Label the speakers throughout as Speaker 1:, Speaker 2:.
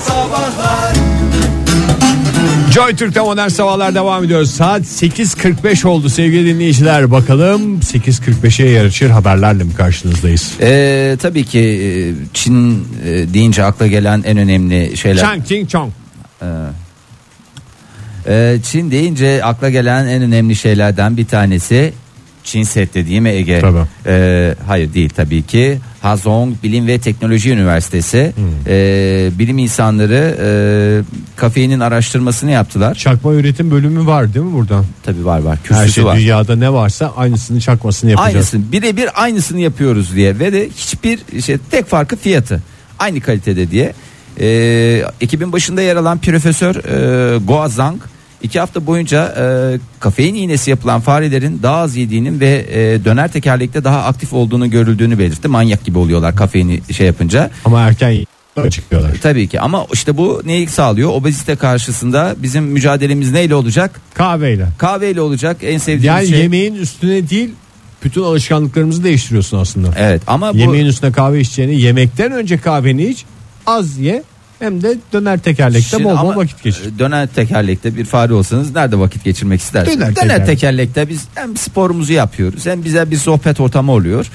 Speaker 1: Sabahlar
Speaker 2: Joy Türk'te modern sabahlar devam ediyor. Saat 8.45 oldu sevgili dinleyiciler. Bakalım 8.45'e yarışır haberlerle mi karşınızdayız?
Speaker 3: Ee, tabii ki e, Çin e, deyince akla gelen en önemli şeyler.
Speaker 2: Chang Ching Chong.
Speaker 3: Ee, Çin deyince akla gelen en önemli şeylerden bir tanesi Çin Seddi değil mi Ege?
Speaker 2: Tabii.
Speaker 3: Ee, hayır değil tabii ki. Hazong Bilim ve Teknoloji Üniversitesi
Speaker 2: Hmm.
Speaker 3: ee, bilim insanları ee, kafeinin araştırmasını yaptılar.
Speaker 2: Çakma üretim bölümü var değil mi burada?
Speaker 3: Tabii var var kürsüsü
Speaker 2: Her şey
Speaker 3: var.
Speaker 2: dünyada ne varsa aynısını çakmasını yapacağız.
Speaker 3: Aynısını birebir aynısını yapıyoruz diye ve de hiçbir şey tek farkı fiyatı aynı kalitede diye. Ee, ekibin başında yer alan profesör e, Goa Zhang iki hafta boyunca e, kafein iğnesi yapılan farelerin daha az yediğinin ve e, döner tekerlekte daha aktif olduğunu görüldüğünü belirtti. Manyak gibi oluyorlar kafeini şey yapınca.
Speaker 2: Ama erken çıkıyorlar.
Speaker 3: Tabii ki ama işte bu neyi sağlıyor? Obezite karşısında bizim mücadelemiz neyle olacak?
Speaker 2: Kahveyle.
Speaker 3: Kahveyle olacak en sevdiğimiz
Speaker 2: Yani
Speaker 3: şey.
Speaker 2: yemeğin üstüne değil bütün alışkanlıklarımızı değiştiriyorsun aslında.
Speaker 3: Evet ama bu
Speaker 2: Yemeğin üstüne kahve içeceğini yemekten önce kahveni iç az ye hem de döner tekerlekte
Speaker 3: Şimdi
Speaker 2: bol bol
Speaker 3: ama e,
Speaker 2: vakit geçir.
Speaker 3: Döner tekerlekte bir fare olsanız nerede vakit geçirmek istersiniz?
Speaker 2: Döner
Speaker 3: Döner,
Speaker 2: tekerlek.
Speaker 3: tekerlekte biz hem sporumuzu yapıyoruz hem bize bir sohbet ortamı oluyor.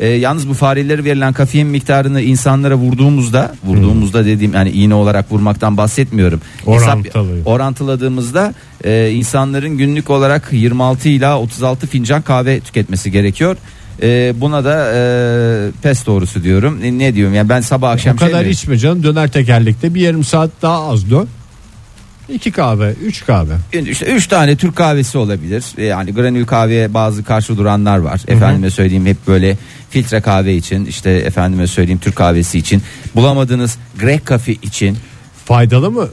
Speaker 3: Ee, yalnız bu farelere verilen kafein miktarını insanlara vurduğumuzda vurduğumuzda dediğim yani iğne olarak vurmaktan bahsetmiyorum.
Speaker 2: Orantılı.
Speaker 3: orantıladığımızda e, insanların günlük olarak 26 ila 36 fincan kahve tüketmesi gerekiyor. E, buna da e, pes doğrusu diyorum. Ne, ne diyorum? Yani ben sabah akşam
Speaker 2: O
Speaker 3: şey
Speaker 2: kadar
Speaker 3: mi-
Speaker 2: içme canım döner tekerlekte bir yarım saat daha az dön. İki kahve, üç kahve.
Speaker 3: işte üç tane Türk kahvesi olabilir. Ee, Yani granül kahveye bazı karşı duranlar var. Efendime söyleyeyim hep böyle filtre kahve için, işte efendime söyleyeyim Türk kahvesi için, bulamadığınız Grek kafe için.
Speaker 2: Faydalı mı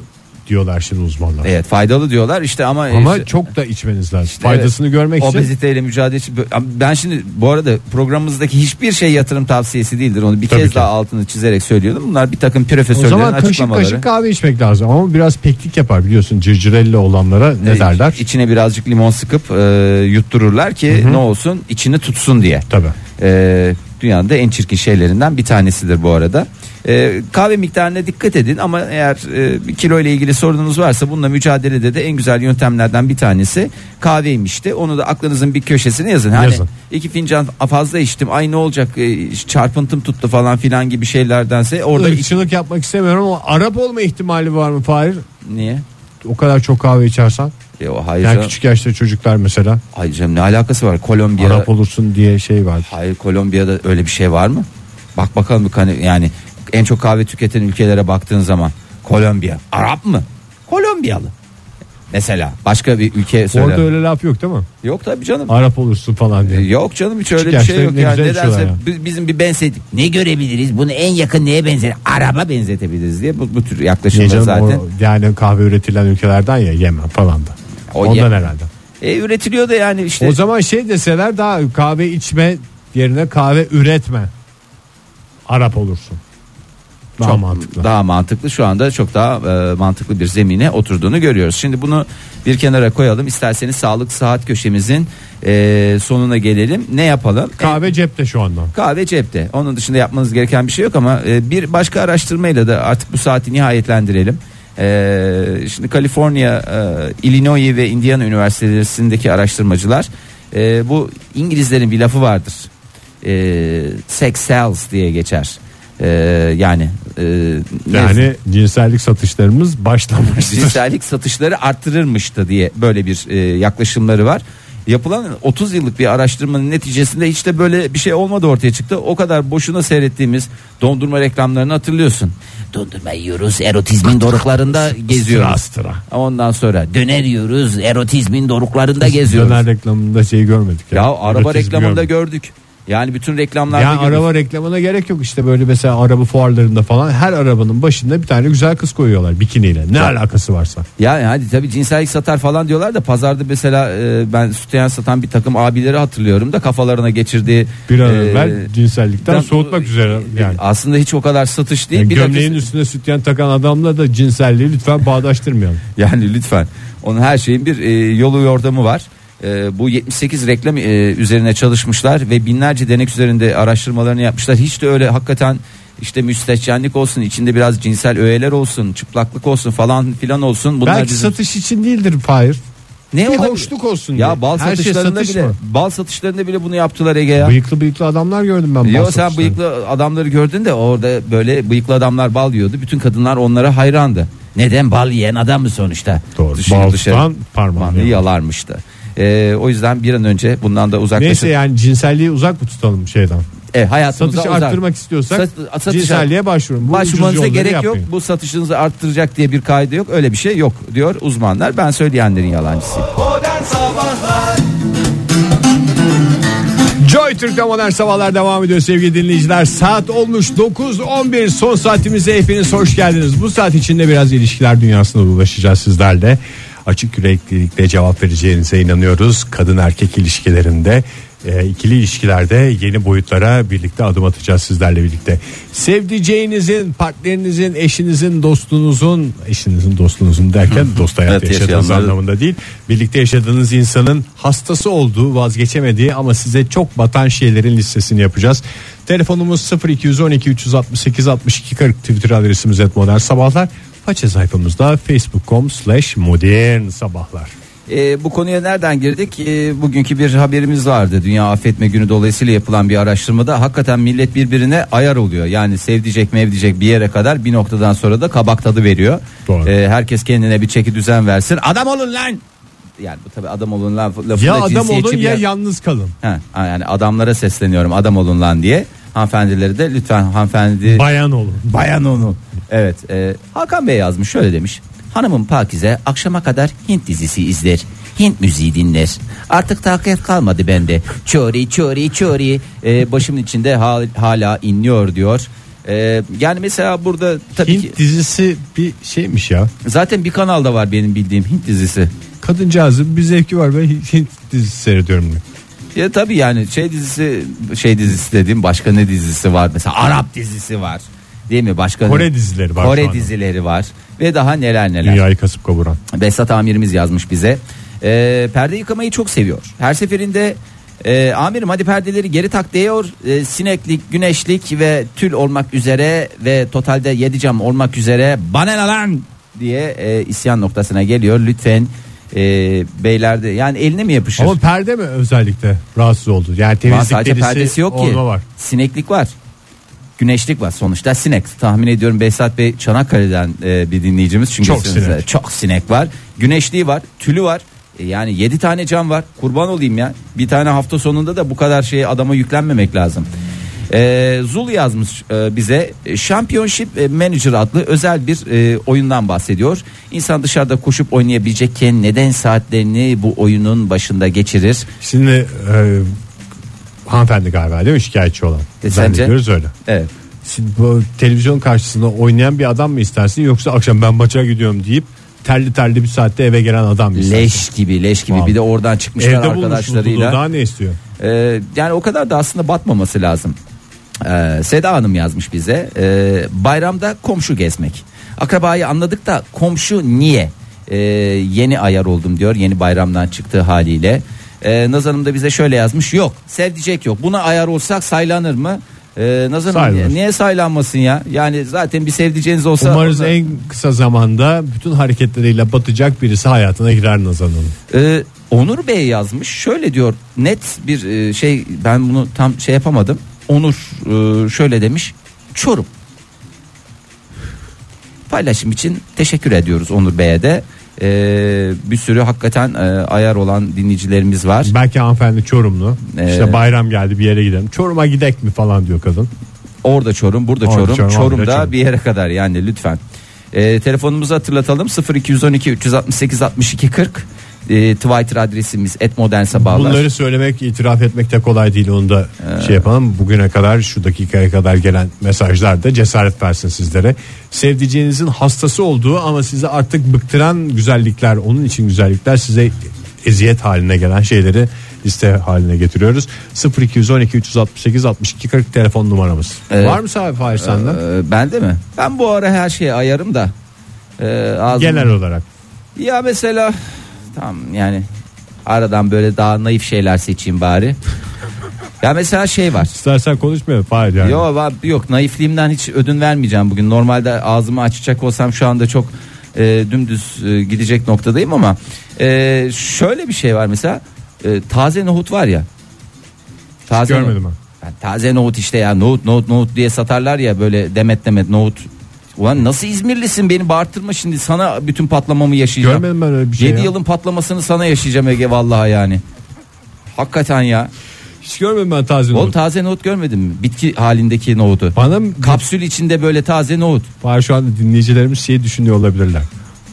Speaker 2: diyorlar şimdi uzmanlar.
Speaker 3: Evet, faydalı diyorlar. işte ama
Speaker 2: Ama
Speaker 3: E, işte-
Speaker 2: çok da içmeniz lazım.
Speaker 3: işte
Speaker 2: Faydasını
Speaker 3: evet,
Speaker 2: görmek için
Speaker 3: Obeziteyle mücadele için Ama ben şimdi bu arada programımızdaki hiçbir şey yatırım tavsiyesi değildir. Onu bir
Speaker 2: Tabii
Speaker 3: kez
Speaker 2: ki.
Speaker 3: daha altını çizerek söylüyorum. Bunlar bir takım
Speaker 2: o
Speaker 3: profesörlerin
Speaker 2: zaman kaşık
Speaker 3: açıklamaları.
Speaker 2: kaşık kahve içmek lazım. Ama biraz peklik yapar biliyorsun cırcırelli olanlara ne
Speaker 3: Ee,
Speaker 2: derler?
Speaker 3: İçine birazcık limon sıkıp e, yuttururlar ki ne olsun içini tutsun diye.
Speaker 2: Tabii.
Speaker 3: Ee, dünyanın da en çirkin şeylerinden bir tanesidir bu arada. Ee, kahve miktarına dikkat edin ama eğer e, bir kilo ile ilgili sorununuz varsa bununla mücadelede de en güzel yöntemlerden bir tanesi kahveymiş de onu da aklınızın bir köşesine yazın. Hani
Speaker 2: Yazın.
Speaker 3: iki fincan fazla içtim ay ne olacak e, çarpıntım tuttu falan filan gibi şeylerdense orada iç-
Speaker 2: Irkçılık yapmak istemiyorum ama Arap olma ihtimali var mı Fahir?
Speaker 3: niye?
Speaker 2: O kadar çok kahve içersen.
Speaker 3: E, o hayır,
Speaker 2: Yani
Speaker 3: canım,
Speaker 2: küçük yaşta çocuklar mesela
Speaker 3: hayır canım ne alakası var Kolombiya
Speaker 2: Arap olursun diye şey var.
Speaker 3: Hayır Kolombiya'da öyle bir şey var mı? Bak bakalım bir kanı- yani en çok kahve tüketen ülkelere baktığın zaman Kolombiya Arap mı? Kolombiyalı. Mesela başka bir ülke söyle.
Speaker 2: Orada öyle laf yok değil mi?
Speaker 3: Yok tabii canım.
Speaker 2: Arap olursun falan diye.
Speaker 3: Yok canım hiç öyle
Speaker 2: Küçük
Speaker 3: bir şey yok
Speaker 2: yaşta ne
Speaker 3: yani.
Speaker 2: güzel
Speaker 3: Nedense
Speaker 2: içiyorlar ya.
Speaker 3: bi- bizim bir benzetip ne görebiliriz? Bunu en yakın neye benzer? Araba benzetebiliriz diye bu, bu tür
Speaker 2: Niye
Speaker 3: yaklaşımlar
Speaker 2: Şey canım
Speaker 3: zaten.
Speaker 2: o yani kahve üretilen ülkelerden ya Yemen falan da.
Speaker 3: O
Speaker 2: Ondan
Speaker 3: Yemen.
Speaker 2: herhalde.
Speaker 3: E, üretiliyor da yani işte.
Speaker 2: O zaman şey deseler daha kahve içme yerine kahve üretme. Arap olursun. Daha
Speaker 3: Çok
Speaker 2: mantıklı.
Speaker 3: Daha mantıklı şu anda çok daha e, mantıklı bir zemine oturduğunu görüyoruz. Şimdi bunu bir kenara koyalım. İsterseniz sağlık saat köşemizin e, sonuna gelelim. Ne yapalım? E,
Speaker 2: Kahve cepte şu anda.
Speaker 3: kahve cepte. Onun dışında yapmanız gereken bir şey yok ama e, bir başka araştırmayla da artık bu saati nihayetlendirelim. E, şimdi Kaliforniya, e, Illinois ve Indiana üniversitelerindeki araştırmacılar e, bu İngilizlerin bir lafı vardır. E, sex sells diye geçer. E, yani e, ne-
Speaker 2: Yani cinsellik satışlarımız başlamıştır.
Speaker 3: cinsellik satışları arttırırmıştı diye böyle bir e, yaklaşımları var. Yapılan 30 yıllık bir araştırmanın neticesinde hiç de böyle bir şey olmadı ortaya çıktı. O kadar boşuna seyrettiğimiz dondurma reklamlarını hatırlıyorsun. Dondurma yiyoruz erotizmin doruklarında
Speaker 2: Sıra
Speaker 3: geziyoruz.
Speaker 2: sıra.
Speaker 3: Ondan sonra döner yiyoruz erotizmin doruklarında geziyoruz.
Speaker 2: Döner reklamında şeyi görmedik.
Speaker 3: Ya araba
Speaker 2: Erotizmi
Speaker 3: reklamında
Speaker 2: görmedik.
Speaker 3: gördük. Yani bütün reklamlarda
Speaker 2: yani
Speaker 3: görüyoruz.
Speaker 2: araba reklamına gerek yok işte böyle mesela araba fuarlarında falan her arabanın başında bir tane güzel kız koyuyorlar bikiniyle ne alakası varsa.
Speaker 3: Yani hadi tabii cinsellik satar falan diyorlar da pazarda mesela e, ben sütyen satan bir takım abileri hatırlıyorum da kafalarına geçirdiği
Speaker 2: Bir an
Speaker 3: e,
Speaker 2: evvel cinsellikten
Speaker 3: ben-
Speaker 2: soğutmak üzere yani.
Speaker 3: Aslında hiç o kadar satış değil.
Speaker 2: Yani
Speaker 3: bir
Speaker 2: gömleğin
Speaker 3: dakika-
Speaker 2: üstüne sütyen takan adamla da cinselliği lütfen bağdaştırmayalım.
Speaker 3: yani lütfen. Onun her şeyin bir e, yolu yordamı var. E, bu 78 reklam e, üzerine çalışmışlar ve binlerce denek üzerinde araştırmalarını yapmışlar. Hiç de öyle hakikaten işte müstehcenlik olsun içinde biraz cinsel öğeler olsun çıplaklık olsun falan filan olsun. Bunlar
Speaker 2: Belki
Speaker 3: bizim-
Speaker 2: satış için değildir Fahir.
Speaker 3: ne
Speaker 2: bir
Speaker 3: olabilir?
Speaker 2: hoşluk olsun diye.
Speaker 3: Ya bal
Speaker 2: Her şey
Speaker 3: satışlarında
Speaker 2: satış
Speaker 3: bile
Speaker 2: mı?
Speaker 3: bal satışlarında bile bunu yaptılar Ege ya.
Speaker 2: Bıyıklı bıyıklı adamlar gördüm ben.
Speaker 3: Yo
Speaker 2: bazı
Speaker 3: sen
Speaker 2: satışlarda.
Speaker 3: bıyıklı adamları gördün de orada böyle bıyıklı adamlar bal yiyordu. Bütün kadınlar onlara hayrandı. Neden bal yiyen adam mı sonuçta?
Speaker 2: Doğru.
Speaker 3: Dışarı-
Speaker 2: Baldan
Speaker 3: dışarı-
Speaker 2: parmağını
Speaker 3: parmağını
Speaker 2: yalar.
Speaker 3: yalarmıştı. Ee, o yüzden bir an önce bundan da
Speaker 2: Neyse
Speaker 3: uzaklaşın.
Speaker 2: yani cinselliği uzak mı tutalım şeyden?
Speaker 3: E, hayatımıza
Speaker 2: Satışı
Speaker 3: uzak-
Speaker 2: arttırmak istiyorsak
Speaker 3: Sat- satışa-
Speaker 2: cinselliğe başvurun. Bu ucuz
Speaker 3: Başvurmanıza
Speaker 2: yolları
Speaker 3: gerek
Speaker 2: yapmayın.
Speaker 3: yok. Bu satışınızı arttıracak diye bir kaydı yok. Öyle bir şey yok diyor uzmanlar. Ben söyleyenlerin yalancısıyım.
Speaker 1: Modern Sabahlar
Speaker 2: Joy Türk'te modern sabahlar devam ediyor sevgili dinleyiciler. Saat olmuş 9.11 son saatimize hepiniz hoş geldiniz. Bu saat içinde biraz ilişkiler dünyasına dolaşacağız sizlerle. Açık yüreklilikle cevap vereceğinize inanıyoruz. Kadın erkek ilişkilerinde e, ikili ilişkilerde yeni boyutlara birlikte adım atacağız sizlerle birlikte. Sevdiceğinizin, partnerinizin, eşinizin, dostunuzun, eşinizin, dostunuzun derken dost hayatı
Speaker 3: Evet,
Speaker 2: yaşadığınız
Speaker 3: yaşayanları-
Speaker 2: anlamında anlamında değil. Birlikte yaşadığınız insanın hastası olduğu, vazgeçemediği ama size çok batan şeylerin listesini yapacağız. Telefonumuz 0212 368 62 40 Twitter adresimiz et modern sabahlar. Faça sayfamızda facebook.com slash modern sabahlar.
Speaker 3: E, bu konuya nereden girdik? E, bugünkü bir haberimiz vardı. Dünya Affetme Günü dolayısıyla yapılan bir araştırmada hakikaten millet birbirine ayar oluyor. Yani sevdicek mevdicek bir yere kadar bir noktadan sonra da kabak tadı veriyor.
Speaker 2: Doğru.
Speaker 3: E, herkes kendine bir çeki düzen versin. Adam olun lan! Yani bu tabi adam olun lan lafı
Speaker 2: Ya
Speaker 3: da
Speaker 2: adam
Speaker 3: cinsiyetçi
Speaker 2: olun
Speaker 3: bir
Speaker 2: ya
Speaker 3: yer-
Speaker 2: yalnız kalın.
Speaker 3: Ha, yani adamlara sesleniyorum adam olun lan diye. Hanımefendileri de lütfen hanımefendi
Speaker 2: Bayan olun.
Speaker 3: bayan onu. Evet e, Hakan Bey yazmış şöyle demiş. Hanımım Pakize akşama kadar Hint dizisi izler. Hint müziği dinler. Artık takat kalmadı bende. Çori çori çori. E, başımın içinde hal- hala inliyor diyor. E, yani mesela burada tabii ki
Speaker 2: Hint dizisi bir şeymiş ya.
Speaker 3: zaten bir kanalda var benim bildiğim Hint dizisi.
Speaker 2: Kadıncağızın bir zevki var ve Hint dizisi seyrediyorum. ben.
Speaker 3: Ya tabii yani şey dizisi şey dizisi dediğim başka ne dizisi var mesela Arap dizisi var. Değil mi? Başka
Speaker 2: Kore dizileri var şu
Speaker 3: Kore
Speaker 2: anda.
Speaker 3: dizileri var ve daha neler neler.
Speaker 2: Dünyayı kasıp kavuran.
Speaker 3: Behzat amirimiz yazmış bize. Ee, perde yıkamayı çok seviyor. Her seferinde e, amirim hadi perdeleri geri tak diyor. E, sineklik, güneşlik ve tül olmak üzere ve totalde yedi cam olmak üzere bana ne lan diye e, isyan noktasına geliyor. Lütfen e, beyler de yani eline mi yapışır?
Speaker 2: Ama perde mi özellikle rahatsız oldu? Yani
Speaker 3: Ama
Speaker 2: temizlik
Speaker 3: Şey- sadece perdesi
Speaker 2: delisi
Speaker 3: yok ki.
Speaker 2: olma var.
Speaker 3: Sineklik var. Güneşlik var sonuçta sinek tahmin ediyorum Behzat Bey Çanakkale'den e, bir dinleyicimiz çünkü
Speaker 2: Çok
Speaker 3: sizin-
Speaker 2: sinek.
Speaker 3: çok sinek var güneşliği var tülü var E, yani 7 tane cam var kurban olayım ya bir tane hafta sonunda da bu kadar şeye adama yüklenmemek lazım e, Zul yazmış e, bize e, Championship e, Manager adlı özel bir e, oyundan bahsediyor İnsan dışarıda koşup oynayabilecekken neden saatlerini bu oyunun başında geçirir
Speaker 2: Şimdi e, hanımefendi galiba değil mi şikayetçi olan?
Speaker 3: E, sence?
Speaker 2: Zannediyoruz öyle.
Speaker 3: evet
Speaker 2: Şimdi bu televizyon karşısında oynayan bir adam mı istersin yoksa akşam ben maça gidiyorum deyip terli terli bir saatte eve gelen adam mı istersin?
Speaker 3: Leş gibi leş gibi
Speaker 2: Vallahi.
Speaker 3: bir de oradan çıkmışlar
Speaker 2: Evde bulmuş mutluluğu
Speaker 3: arkadaşlarıyla.
Speaker 2: daha ne istiyor?
Speaker 3: Ee, yani o kadar da aslında batmaması lazım. Ee, Seda Hanım yazmış bize. Ee, bayramda komşu gezmek. Akrabayı anladık da komşu niye? Ee, yeni ayar oldum diyor yeni bayramdan çıktığı haliyle. Ee, Naz Hanım da bize şöyle yazmış. Yok sevdicek yok. Buna ayar olsak saylanır mı? Ee, Naz Hanım
Speaker 2: Saylanır.
Speaker 3: niye- niye saylanmasın ya? Yani zaten bir sevdiceğiniz olsa...
Speaker 2: Umarız
Speaker 3: onunla-
Speaker 2: en kısa zamanda bütün hareketleriyle batacak birisi hayatına girer Nazan Hanım.
Speaker 3: Ee, Onur Bey yazmış. Şöyle diyor net bir e, şey ben bunu tam şey yapamadım. Onur e, şöyle demiş. Çorum. Paylaşım için teşekkür ediyoruz Onur Bey'e de. Ee, bir sürü hakikaten e, ayar olan dinleyicilerimiz var.
Speaker 2: Belki hanımefendi Çorumlu.
Speaker 3: Ee,
Speaker 2: İşte bayram geldi bir yere gidelim. Çorum'a gidek mi falan diyor kadın.
Speaker 3: Orada Çorum, burada
Speaker 2: Orada
Speaker 3: Çorum,
Speaker 2: Çorum,
Speaker 3: Çorum'da
Speaker 2: orada Çorum.
Speaker 3: bir yere kadar yani lütfen. Ee, telefonumuzu hatırlatalım 0212 368 62 40 Ee, Twitter adresimiz @modernsabahlar.
Speaker 2: Bunları söylemek, itiraf etmek de kolay değil. Onu da şey yapalım. Bugüne kadar şu dakikaya kadar gelen mesajlar da cesaret versin sizlere. Sevdiceğinizin hastası olduğu ama sizi artık bıktıran güzellikler, onun için güzellikler size eziyet haline gelen şeyleri liste haline getiriyoruz. 0212 368 62 40 telefon numaramız.
Speaker 3: Evet.
Speaker 2: Var mı sahibi Fahir sende?
Speaker 3: Ee, ben de mi? Ben bu ara her şeye ayarım da. Ee, ağzım-
Speaker 2: Genel olarak.
Speaker 3: Ya mesela tam yani aradan böyle daha naif şeyler seçeyim bari. Ya mesela şey var.
Speaker 2: İstersen konuşmayalım Fahir yani.
Speaker 3: Yok var yok naifliğimden hiç ödün vermeyeceğim bugün. Normalde ağzımı açacak olsam şu anda çok e, dümdüz e, gidecek noktadayım ama e, şöyle bir şey var mesela e, taze nohut var ya. Taze
Speaker 2: görmedim
Speaker 3: nohut. Yani taze nohut işte ya nohut nohut nohut diye satarlar ya böyle demet demet nohut. Ulan nasıl İzmirlisin beni bağırtırma şimdi sana bütün patlamamı yaşayacağım.
Speaker 2: Görmedim ben öyle bir şey
Speaker 3: 7
Speaker 2: ya.
Speaker 3: yılın patlamasını sana yaşayacağım Ege vallahi yani. Hakikaten ya.
Speaker 2: Hiç görmedim ben taze
Speaker 3: Oğlum
Speaker 2: nohut.
Speaker 3: taze nohut görmedin mi? Bitki halindeki nohutu.
Speaker 2: Bana mı-
Speaker 3: Kapsül içinde böyle taze nohut.
Speaker 2: Fahir şu anda dinleyicilerimiz şey düşünüyor olabilirler.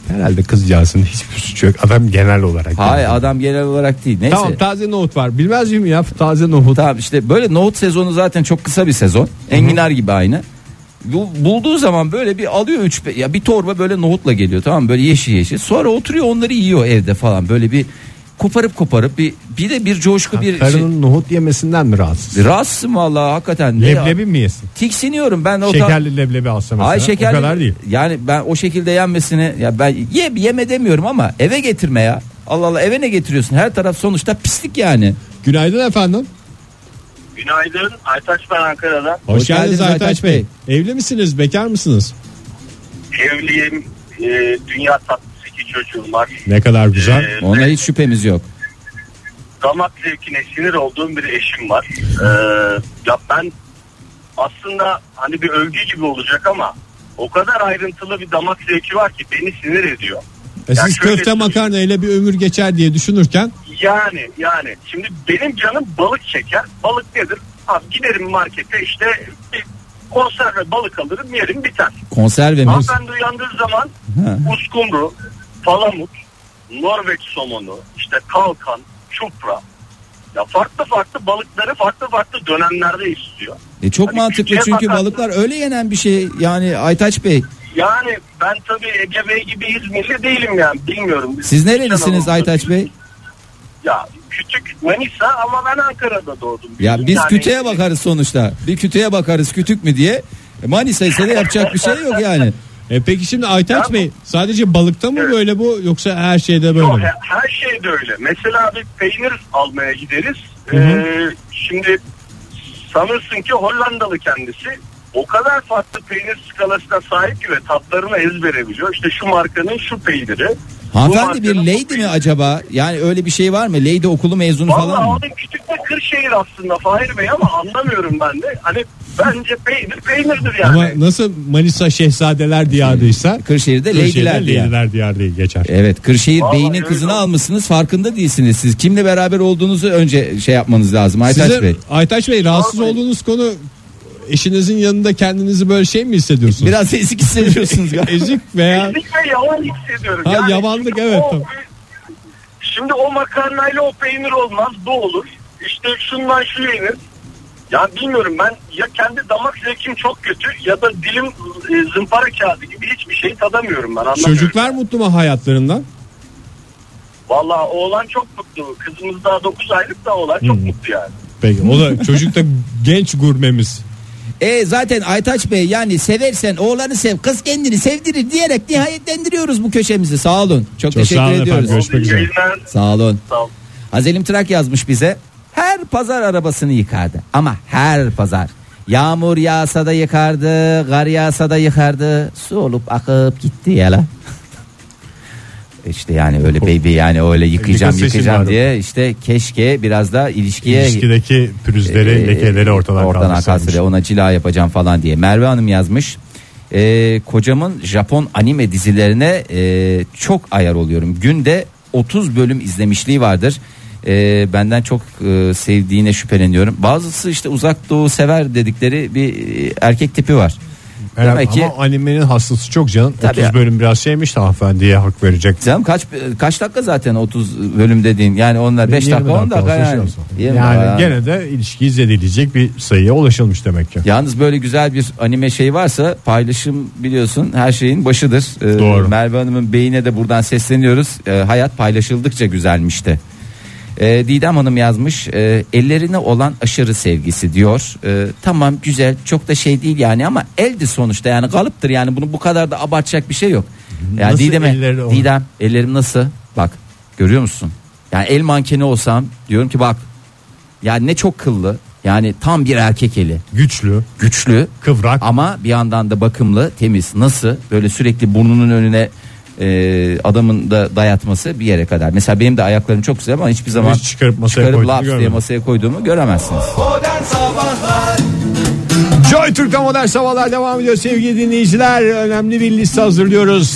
Speaker 2: Herhalde kızcağızın hiçbir suçu yok. Adam genel olarak.
Speaker 3: Hayır
Speaker 2: Yani.
Speaker 3: adam genel olarak değil. Neyse.
Speaker 2: Tamam taze nohut var. Bilmez miyim ya taze nohut.
Speaker 3: Tamam işte böyle nohut sezonu zaten çok kısa bir sezon. Enginar gibi aynı. Bu- Bulduğu zaman böyle bir alıyor üç be- ya bir torba böyle nohutla geliyor tamam mı? böyle yeşil yeşil. Sonra oturuyor onları yiyor evde falan böyle bir koparıp koparıp bir bir de bir coşku bir
Speaker 2: Karının nohut yemesinden mi rahatsız?
Speaker 3: şey. Rahatsızım vallahi hakikaten. Ne ya?
Speaker 2: Leblebi mi yesin?
Speaker 3: Tiksiniyorum ben o ta-
Speaker 2: Şekerli leblebi alsa mesela.
Speaker 3: Ay şeker
Speaker 2: O kadar değil.
Speaker 3: Yani ben o şekilde yenmesini ya ben ye yeme demiyorum ama eve getirme ya. Allah Allah eve ne getiriyorsun? Her taraf sonuçta pislik yani.
Speaker 2: Günaydın efendim.
Speaker 4: Günaydın. Aytaç ben Ankara'dan.
Speaker 2: Hoş,
Speaker 3: Hoş
Speaker 2: geldiniz
Speaker 3: geldiniz
Speaker 2: Aytaç
Speaker 3: Aytaç
Speaker 2: Bey. Evli misiniz? Bekar mısınız?
Speaker 4: Evliyim. Ee, dünya tatlısı iki çocuğum var.
Speaker 2: Ne kadar güzel. E,
Speaker 4: Ee,
Speaker 3: Ona hiç şüphemiz yok.
Speaker 4: damak zevkine sinir olduğum bir eşim var. Ee, ya ben aslında hani bir övgü gibi olacak ama o kadar ayrıntılı bir damak zevki var ki beni sinir ediyor.
Speaker 2: E siz
Speaker 4: şöyle
Speaker 2: köfte
Speaker 4: söyleyeyim.
Speaker 2: makarna ile bir ömür geçer diye düşünürken
Speaker 4: Yani yani şimdi benim canım balık çeker. Balık nedir? Abi giderim markete işte bir konserve balık alırım yerim biter.
Speaker 3: Konserve mi?
Speaker 4: Hanımefendi uyandığı zaman uskumru, palamut, Norveç somonu, işte kalkan, çupra. Ya farklı farklı balıkları farklı farklı dönemlerde istiyor.
Speaker 3: E çok
Speaker 4: Hani
Speaker 3: mantıklı
Speaker 4: küçüğe
Speaker 3: çünkü
Speaker 4: bakarsın.
Speaker 3: balıklar öyle yenen bir şey. Yani Aytaç Bey
Speaker 4: Yani ben tabii Ege Bey gibi İzmirli değilim yani bilmiyorum.
Speaker 3: siz nerelisiniz Aytaç Bey?
Speaker 4: Ya küçük Manisa ama ben Ankara'da doğdum.
Speaker 3: Ya biz
Speaker 4: Yani-
Speaker 3: kütüğe bakarız sonuçta. Bir kütüğe bakarız kütük mü diye. E Manisa ise de yapacak bir şey yok yani.
Speaker 2: e peki şimdi Aytaç
Speaker 4: Ya bu-
Speaker 2: Bey sadece balıkta mı
Speaker 4: Evet.
Speaker 2: böyle bu yoksa her şeyde böyle
Speaker 4: Yok,
Speaker 2: mi?
Speaker 4: he- her şey de öyle. Mesela bir peynir almaya gideriz.
Speaker 2: hı.
Speaker 4: Ee, şimdi sanırsın ki Hollandalı kendisi. O kadar farklı peynir skalasına sahip ki ve tatlarını ezbere biliyor. İşte şu markanın şu peyniri. bu
Speaker 3: Hanımefendi
Speaker 4: markanın
Speaker 3: bir
Speaker 4: bu
Speaker 3: lady mi
Speaker 4: peyniri.
Speaker 3: acaba? Yani öyle bir şey var mı? Lady okulu mezunu
Speaker 4: Valla
Speaker 3: falan mı?
Speaker 4: onun küçük bir Kırşehir aslında Fahir Bey ama anlamıyorum ben de. Hani bence peynir peynirdir yani.
Speaker 2: Ama nasıl Manisa Şehzadeler diyarıysa
Speaker 3: Kırşehir'de
Speaker 2: Kırşehir'de
Speaker 3: lady'ler diye.
Speaker 2: Leydiler diyarı diye geçer.
Speaker 3: Evet Kırşehir
Speaker 4: Vallahi
Speaker 3: beynin
Speaker 4: öyle
Speaker 3: kızını
Speaker 4: oldu.
Speaker 3: almışsınız farkında değilsiniz siz. Kimle beraber olduğunuzu önce şey yapmanız lazım Aytaç
Speaker 2: Size,
Speaker 3: Bey.
Speaker 2: Aytaç Bey rahatsız
Speaker 4: Vallahi.
Speaker 2: olduğunuz konu eşinizin yanında kendinizi böyle şey mi hissediyorsunuz?
Speaker 3: Biraz ezik hissediyorsunuz galiba.
Speaker 2: Ezik veya
Speaker 4: Kesinlikle yalan hissediyorum.
Speaker 2: Ha, yabanlık,
Speaker 4: şimdi
Speaker 2: evet,
Speaker 4: o-
Speaker 2: tamam.
Speaker 4: Şimdi o makarnayla o peynir olmaz bu olur. İşte şundan şu yenir. Ya bilmiyorum ben ya kendi damak zevkim çok kötü ya da dilim e, zımpara kağıdı gibi hiçbir şey tadamıyorum ben anlamıyorum.
Speaker 2: çocuklar mutlu mu hayatlarından?
Speaker 4: Valla oğlan çok mutlu. Kızımız daha 9 aylık da oğlan çok mutlu yani.
Speaker 2: Peki o da çocuk da genç gurmemiz.
Speaker 3: E zaten Aytaç Bey yani seversen oğlanı sev kız kendini sevdirir diyerek nihayetlendiriyoruz bu köşemizi sağ olun. Çok, teşekkür
Speaker 2: sağ olun efendim,
Speaker 3: ediyoruz.
Speaker 2: görüşmek
Speaker 4: Oldu,
Speaker 2: üzere.
Speaker 4: yayınlar.
Speaker 3: Sağ olun.
Speaker 4: Sağ olun.
Speaker 3: Hazelim Trak yazmış bize. Her pazar arabasını yıkardı ama her pazar. Yağmur yağsa da yıkardı, kar yağsa da yıkardı. Su olup akıp gitti ya la. İşte yani öyle baby yani öyle yıkayacağım
Speaker 2: Yıkasın
Speaker 3: yıkayacağım
Speaker 2: şimdi
Speaker 3: diye işte keşke biraz da ilişkiye
Speaker 2: İlişkideki pürüzleri,
Speaker 3: e,
Speaker 2: lekeleri ortadan,
Speaker 3: ortadan
Speaker 2: ortadan
Speaker 3: kaldırsaydı, ona cila yapacağım falan diye. Merve Hanım yazmış. E, kocamın Japon anime dizilerine e, çok ayar oluyorum. Günde 30 bölüm izlemişliği vardır. E, benden çok e, sevdiğine şüpheleniyorum. Bazısı işte uzak doğu sever dedikleri bir e, erkek tipi var. Demek ki
Speaker 2: Ama animenin hastası çok canım.
Speaker 3: Tabii
Speaker 2: 30
Speaker 3: ya.
Speaker 2: bölüm biraz şeymiş de hanımefendiye hak verecek.
Speaker 3: Canım kaç kaç dakika zaten 30 bölüm dediğin yani onlar 5
Speaker 2: 20
Speaker 3: dakika 10 dakika
Speaker 2: olsa şey
Speaker 3: yani.
Speaker 2: olsa.
Speaker 3: Yirmi
Speaker 2: Yani
Speaker 3: dakika.
Speaker 2: gene de ilişkiyi zedileyecek bir sayıya ulaşılmış demek ki.
Speaker 3: Yalnız böyle güzel bir anime şey varsa paylaşım biliyorsun her şeyin başıdır. Ee,
Speaker 2: Doğru.
Speaker 3: Merve Hanım'ın beyine de buradan sesleniyoruz. Ee, hayat paylaşıldıkça güzelmişti. Ee, Didem Hanım yazmış e, ellerine olan aşırı sevgisi diyor. Ee, tamam güzel çok da şey değil yani ama eldi sonuçta yani kalıptır yani bunu bu kadar da abartacak bir şey yok. Yani
Speaker 2: Nasıl
Speaker 3: Didem'e-
Speaker 2: elleri olan?
Speaker 3: Didem ellerim nasıl bak görüyor musun? Yani el mankeni olsam diyorum ki bak ya ne çok kıllı Yani tam bir erkek eli.
Speaker 2: Güçlü,
Speaker 3: Güçlü
Speaker 2: kıvrak.
Speaker 3: ama bir yandan da bakımlı, temiz. Nasıl? Böyle sürekli burnunun önüne e, adamın da dayatması bir yere kadar. Mesela benim de ayaklarım çok güzel ama hiçbir zaman
Speaker 2: Hiç çıkarıp masaya koyduğunu
Speaker 3: laps diye
Speaker 2: görmedim.
Speaker 3: masaya koyduğumu göremezsiniz.
Speaker 1: Modern Sabahlar
Speaker 2: Joy Türk'te modern sabahlar devam ediyor sevgili dinleyiciler. Önemli bir liste hazırlıyoruz.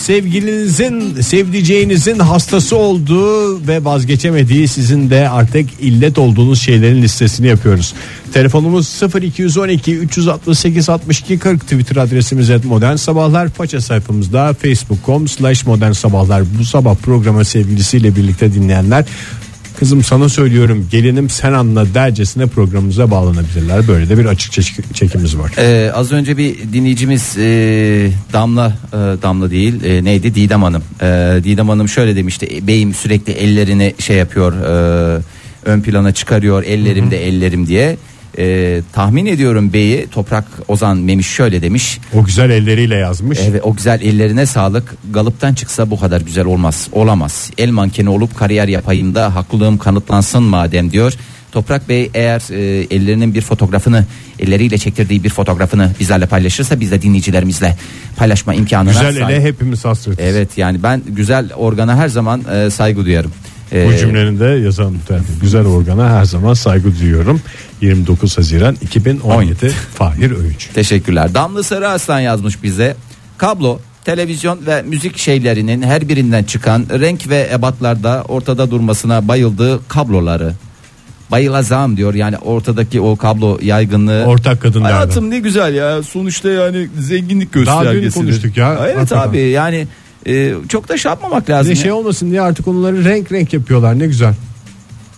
Speaker 2: Sevgilinizin, sevdiceğinizin hastası olduğu ve vazgeçemediği sizin de artık illet olduğunuz şeylerin listesini yapıyoruz. Telefonumuz 0212 368 62 40 Twitter adresimiz et modern sabahlar. Faça sayfamızda facebook.com slash modern sabahlar. Bu sabah programı sevgilisiyle birlikte dinleyenler Kızım sana söylüyorum gelinim sen anla dercesine programımıza bağlanabilirler. Böyle de bir açık çeşi- çekimiz var.
Speaker 3: Ee, az önce bir dinleyicimiz e, Damla e, Damla değil e, neydi Didem Hanım. E, Didem Hanım şöyle demişti "E, beyim sürekli ellerini şey yapıyor e, ön plana çıkarıyor ellerimde ellerim diye. E, tahmin ediyorum beyi Toprak Ozan Memiş şöyle demiş.
Speaker 2: O güzel elleriyle yazmış.
Speaker 3: Evet o güzel ellerine sağlık. Galip'ten çıksa bu kadar güzel olmaz. Olamaz. El mankeni olup kariyer yapayım da haklılığım kanıtlansın madem diyor. Toprak Bey eğer e, ellerinin bir fotoğrafını elleriyle çektirdiği bir fotoğrafını bizlerle paylaşırsa biz de dinleyicilerimizle paylaşma imkanına
Speaker 2: güzel
Speaker 3: sahip-
Speaker 2: ele hepimiz hasretiz.
Speaker 3: Evet yani ben güzel organa her zaman e, saygı duyarım. E,
Speaker 2: Bu cümlenin de yazan muhtemelen. Güzel organa her zaman saygı duyuyorum. 29 Haziran 2017 Fahir Öğüç.
Speaker 3: Teşekkürler. Damla Sarı Aslan yazmış bize. Kablo, televizyon ve müzik şeylerinin her birinden çıkan renk ve ebatlarda ortada durmasına bayıldığı kabloları. Bayılazam diyor yani ortadaki o kablo yaygınlığı.
Speaker 2: Ortak kadın derdi.
Speaker 3: Hayatım ne güzel ya sonuçta yani zenginlik
Speaker 2: Daha dün
Speaker 3: göstergesi.
Speaker 2: konuştuk ya.
Speaker 3: Evet
Speaker 2: Hakikaten.
Speaker 3: abi yani e, çok da şey yapmamak
Speaker 2: Bir
Speaker 3: lazım.
Speaker 2: de
Speaker 3: ya.
Speaker 2: şey olmasın diye artık onları renk renk yapıyorlar ne güzel.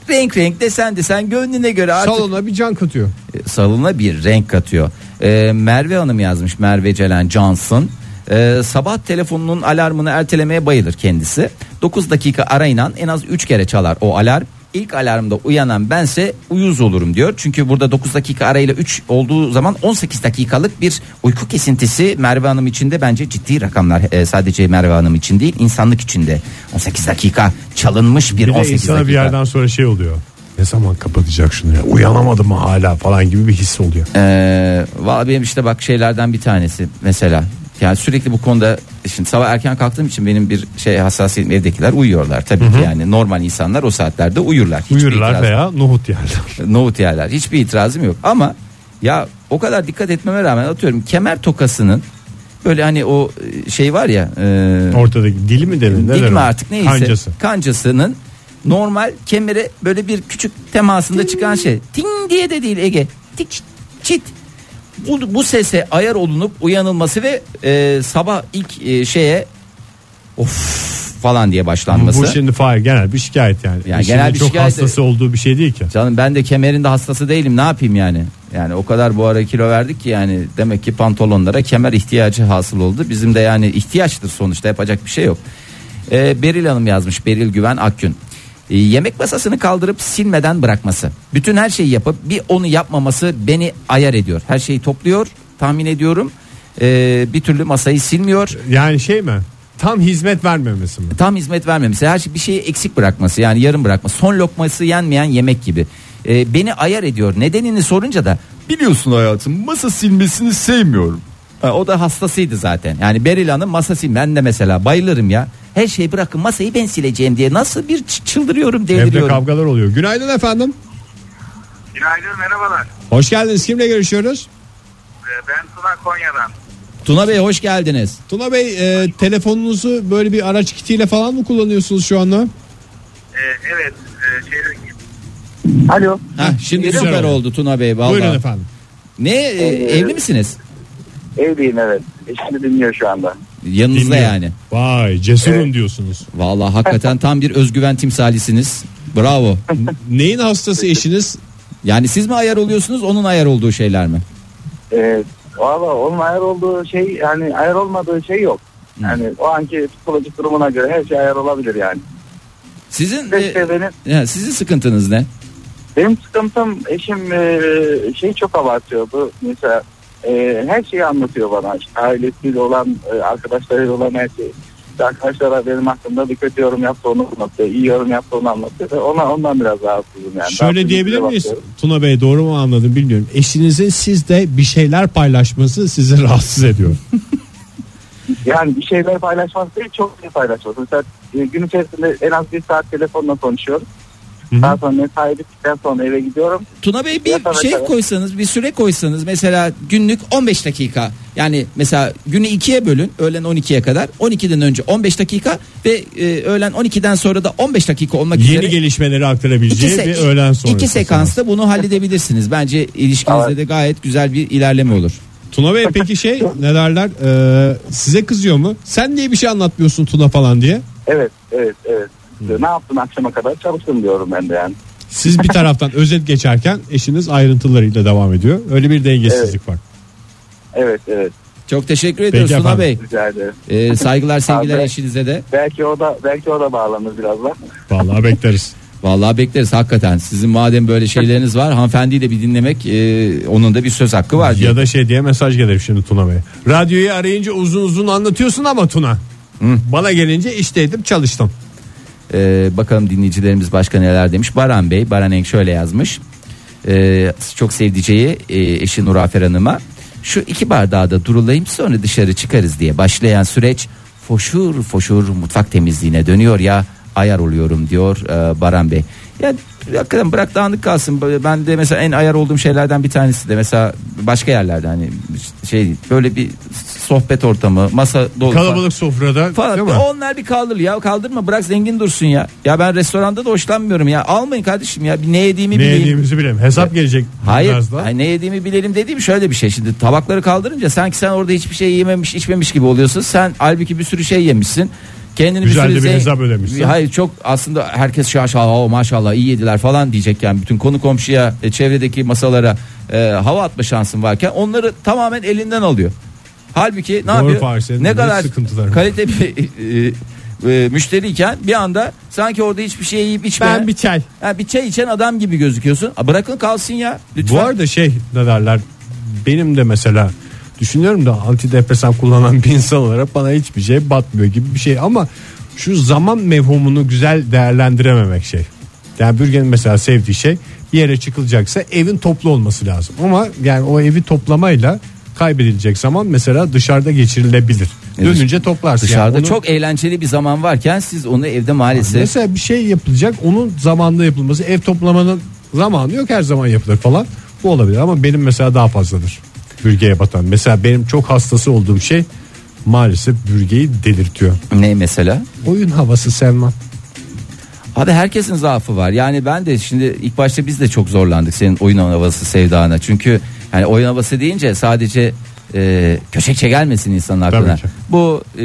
Speaker 3: Renk renk desen desen gönlüne göre artık.
Speaker 2: Salona bir can katıyor.
Speaker 3: salona bir renk katıyor. Ee, Merve Hanım yazmış Merve Celen Johnson. Ee, sabah telefonunun alarmını ertelemeye bayılır kendisi. 9 dakika arayınan en az 3 kere çalar o alarm. İlk alarmda uyanan bense uyuz olurum diyor. Çünkü burada 9 dakika arayla 3 olduğu zaman 18 dakikalık bir uyku kesintisi Merve Hanım için de bence ciddi rakamlar. Ee, sadece Merve Hanım için değil insanlık için de 18 dakika çalınmış bir,
Speaker 2: Bir de
Speaker 3: 18
Speaker 2: insana
Speaker 3: dakika.
Speaker 2: bir yerden sonra şey oluyor. Ne zaman kapatacak şunu ya? Uyanamadım mı hala falan gibi bir his oluyor.
Speaker 3: Ee, Valla benim işte bak şeylerden bir tanesi mesela. Yani sürekli bu konuda şimdi sabah erken kalktığım için benim bir şey hassasiyetim evdekiler uyuyorlar tabii ki yani normal insanlar o saatlerde uyurlar. Hiçbir
Speaker 2: Uyurlar
Speaker 3: itirazım-
Speaker 2: veya nohut yerler.
Speaker 3: nohut yerler hiçbir itirazım yok ama ya o kadar dikkat etmeme rağmen atıyorum kemer tokasının böyle hani o e, şey var ya e,
Speaker 2: Ortadaki dili mi denir? ne
Speaker 3: Dil
Speaker 2: denir?
Speaker 3: mi artık neyse
Speaker 2: Kancası.
Speaker 3: kancasının normal kemere böyle bir küçük temasında çıkan şey. Ting diye de değil Ege. Tik çit. Bu, bu sese ayar olunup uyanılması ve e, sabah ilk e, şeye of falan diye
Speaker 2: Bu,
Speaker 3: başlanması.
Speaker 2: bu şey şimdi Fahir genel bir şikayet yani.
Speaker 3: Yani
Speaker 2: İşinin
Speaker 3: genel bir
Speaker 2: çok
Speaker 3: şikayet-
Speaker 2: hastası olduğu bir şey değil ki.
Speaker 3: Canım ben de kemerin de hastası değilim ne yapayım yani. Yani o kadar bu ara kilo verdik ki yani demek ki pantolonlara kemer ihtiyacı hasıl oldu. Bizim de yani ihtiyaçtır sonuçta yapacak bir şey yok. Ee, Beril Hanım yazmış Beril Güven Akgün. Ee, yemek masasını kaldırıp silmeden bırakması. Bütün her şeyi yapıp bir onu yapmaması beni ayar ediyor. Her şeyi topluyor tahmin ediyorum. Ee, bir türlü masayı silmiyor.
Speaker 2: Yani şey mi? Tam hizmet vermemesi mi?
Speaker 3: Tam hizmet vermemesi, her şey bir şeyi eksik bırakması yani yarım bırakması, son lokması yenmeyen yemek gibi. Ee, beni ayar ediyor. Nedenini sorunca da biliyorsun hayatım masa silmesini sevmiyorum. Ha, o da hastasıydı zaten. Yani Beril Hanım masa sil ben de mesela bayılırım ya. Her şeyi bırakın masayı ben sileceğim diye nasıl bir ç- çıldırıyorum
Speaker 2: Evde
Speaker 3: deliriyorum.
Speaker 2: kavgalar oluyor. Günaydın efendim.
Speaker 4: Günaydın merhabalar. Ee,
Speaker 2: Hoş geldiniz. Kimle görüşüyoruz?
Speaker 4: Ben Tuna Konya'dan.
Speaker 3: Tuna Bey hoş geldiniz.
Speaker 2: Tuna Bey e, telefonunuzu böyle bir araç kitiyle falan mı kullanıyorsunuz şu anda?
Speaker 4: Ee, evet. e, Alo.
Speaker 3: Heh, şimdi
Speaker 2: Güzel
Speaker 3: süper
Speaker 2: oldu.
Speaker 3: oldu Tuna Bey vallahi.
Speaker 2: Buyurun efendim.
Speaker 3: Ne e, evli misiniz?
Speaker 4: Evliyim evet. Eşimi dinliyor şu anda.
Speaker 3: Yanınızda
Speaker 2: Dinliyorum.
Speaker 3: yani.
Speaker 2: Vay cesurum diyorsunuz.
Speaker 3: Vallahi hakikaten tam bir özgüven timsalisiniz. Bravo.
Speaker 2: Neyin hastası eşiniz?
Speaker 3: Yani siz mi ayar oluyorsunuz onun ayar olduğu şeyler mi?
Speaker 4: Ee, Valla onun ayar olduğu şey yani ayar olmadığı şey yok. Yani o anki psikolojik durumuna göre her şey ayar olabilir yani.
Speaker 3: Sizin
Speaker 4: Ve işte
Speaker 3: e,
Speaker 4: benim,
Speaker 3: ya sizin sıkıntınız ne?
Speaker 4: benim sıkıntım eşim e, şey çok abartıyordu. Mesela e, her şeyi anlatıyor bana. İşte ailesiyle olan, e, arkadaşlarıyla olan her şeyi. işte arkadaşlara benim hakkımda bir kötü yorum yaptı onu anlatıyor. iyi yorum yaptı onu anlatıyor. Ve Ona, ondan biraz rahatsızım yani.
Speaker 2: Şöyle
Speaker 4: Rahatsız
Speaker 2: diyebilir
Speaker 4: bir
Speaker 2: miyiz
Speaker 4: bakıyorum.
Speaker 2: Tuna Bey doğru mu anladım bilmiyorum. Eşinizin sizde bir şeyler paylaşması sizi rahatsız ediyor.
Speaker 4: Yani bir şeyler paylaşmak değil çok şey paylaşıyoruz. Mesela e, gün içerisinde en az bir saat telefonla konuşuyoruz. Daha sonra mesai bittikten sonra eve gidiyorum.
Speaker 3: Tuna Bey
Speaker 4: Ya
Speaker 3: bir
Speaker 4: tabii,
Speaker 3: şey
Speaker 4: tabii.
Speaker 3: koysanız bir süre koysanız mesela günlük 15 dakika yani mesela günü ikiye bölün öğlen 12'ye kadar 12'den önce 15 dakika ve e, öğlen 12'den sonra da 15 dakika olmak üzere
Speaker 2: Yeni gelişmeleri aktarabileceği
Speaker 3: se-
Speaker 2: bir öğlen sonrası.
Speaker 3: iki sekansta bunu halledebilirsiniz. Bence ilişkinizde
Speaker 4: Evet.
Speaker 3: de gayet güzel bir ilerleme olur.
Speaker 2: Tuna Bey peki şey ne derler Ee, size kızıyor mu? Sen niye bir şey anlatmıyorsun Tuna falan diye.
Speaker 4: Evet evet evet. E, Ne yaptın akşama kadar çalıştım diyorum ben de yani.
Speaker 2: Siz bir taraftan özet geçerken eşiniz ayrıntılarıyla devam ediyor. Öyle bir dengesizlik var.
Speaker 4: Evet evet
Speaker 3: Çok teşekkür ediyoruz Tuna
Speaker 2: efendim.
Speaker 3: Bey.
Speaker 4: rica ederim.
Speaker 3: E, saygılar sevgiler
Speaker 4: Abi.
Speaker 3: eşinize de.
Speaker 4: Belki o da belki o da bağlanır birazdan.
Speaker 2: Vallahi bekleriz.
Speaker 3: Vallahi bekleriz hakikaten. Sizin madem böyle şeyleriniz var hanımefendiyi de bir dinlemek e, onun da bir söz hakkı var. diye.
Speaker 2: ya da şey diye mesaj gelir şimdi Tuna Bey. Radyoyu arayınca uzun uzun anlatıyorsun ama Tuna. Bana gelince işteydim çalıştım.
Speaker 3: Ee, bakalım dinleyicilerimiz başka neler demiş. Baran Bey, Baran Eng şöyle yazmış. Ee, çok sevdiceği e, eşi Nur Afer Hanım'a şu iki bardağı da durulayım sonra dışarı çıkarız diye başlayan süreç foşur foşur mutfak temizliğine dönüyor ya ayar oluyorum diyor e, Baran Bey. Ya hakikaten bırak dağınık kalsın. Böyle Ben de mesela en ayar olduğum şeylerden bir tanesi de mesela başka yerlerde hani şey böyle bir sohbet ortamı, masa dolu. falan
Speaker 2: Kalabalık sofrada
Speaker 3: falan.
Speaker 2: değil mi?
Speaker 3: Onlar bir kaldır ya kaldırma bırak zengin dursun ya. Ya ben restoranda da hoşlanmıyorum ya. Almayın kardeşim ya bir ne yediğimi
Speaker 2: Ne
Speaker 3: bileyim.
Speaker 2: yediğimizi bilelim. Hesap gelecek
Speaker 3: Hayır, Hani
Speaker 2: biraz da.
Speaker 3: hayır, ne yediğimi bilelim dediğim şöyle bir şey şimdi tabakları kaldırınca sanki sen orada hiçbir şey yememiş içmemiş gibi oluyorsun. Sen halbuki bir sürü şey yemişsin. Kendini
Speaker 2: Güzel
Speaker 3: bir
Speaker 2: de
Speaker 3: sürü
Speaker 2: bir
Speaker 3: zengin-
Speaker 2: hesap ödemişsin.
Speaker 3: Hayır çok aslında herkes şaşa o maşallah iyi yediler falan diyecek yani bütün konu komşuya e, çevredeki masalara e, hava atma şansın varken onları tamamen elinden alıyor. Halbuki ne
Speaker 2: Doğru
Speaker 3: yapıyor?
Speaker 2: Fahir, senin
Speaker 3: ne
Speaker 2: ne
Speaker 3: kadar
Speaker 2: sıkıntıların var.
Speaker 3: kalite bir e, e, müşteriyken bir anda sanki orada hiçbir şey yiyip içmeyen
Speaker 2: Ben bir çay.
Speaker 3: Ha, bir çay içen adam gibi gözüküyorsun. Ha, bırakın kalsın ya. Lütfen.
Speaker 2: Bu arada şey ne derler benim de mesela düşünüyorum da antidepresan kullanan bir insan olarak bana hiçbir şey batmıyor gibi bir şey ama şu zaman mevhumunu güzel değerlendirememek şey. Yani Bürgen'in mesela sevdiği şey bir yere çıkılacaksa evin toplu olması lazım. Ama yani o evi toplamayla kaybedilecek zaman mesela dışarıda geçirilebilir.
Speaker 3: Evet.
Speaker 2: Dönünce toplarsın.
Speaker 3: E,
Speaker 2: Yani
Speaker 3: Dışarıda
Speaker 2: onu-
Speaker 3: çok eğlenceli bir zaman varken siz onu evde maalesef
Speaker 2: Mesela bir şey yapılacak onun zamanında yapılması ev toplamanın zamanı yok her zaman yapılır falan bu olabilir ama benim mesela daha fazladır bürgeye batan. Mesela benim çok hastası olduğum şey maalesef bürgeyi delirtiyor.
Speaker 3: ne mesela?
Speaker 2: Oyun havası sevmem.
Speaker 3: Abi herkesin zaafı var. Yani ben de şimdi ilk başta biz de çok zorlandık senin oyun havası sevdana. Çünkü hani oyun havası deyince sadece e, köşekçe gelmesin insanın aklına.
Speaker 2: Tabii ki.
Speaker 3: Bu e,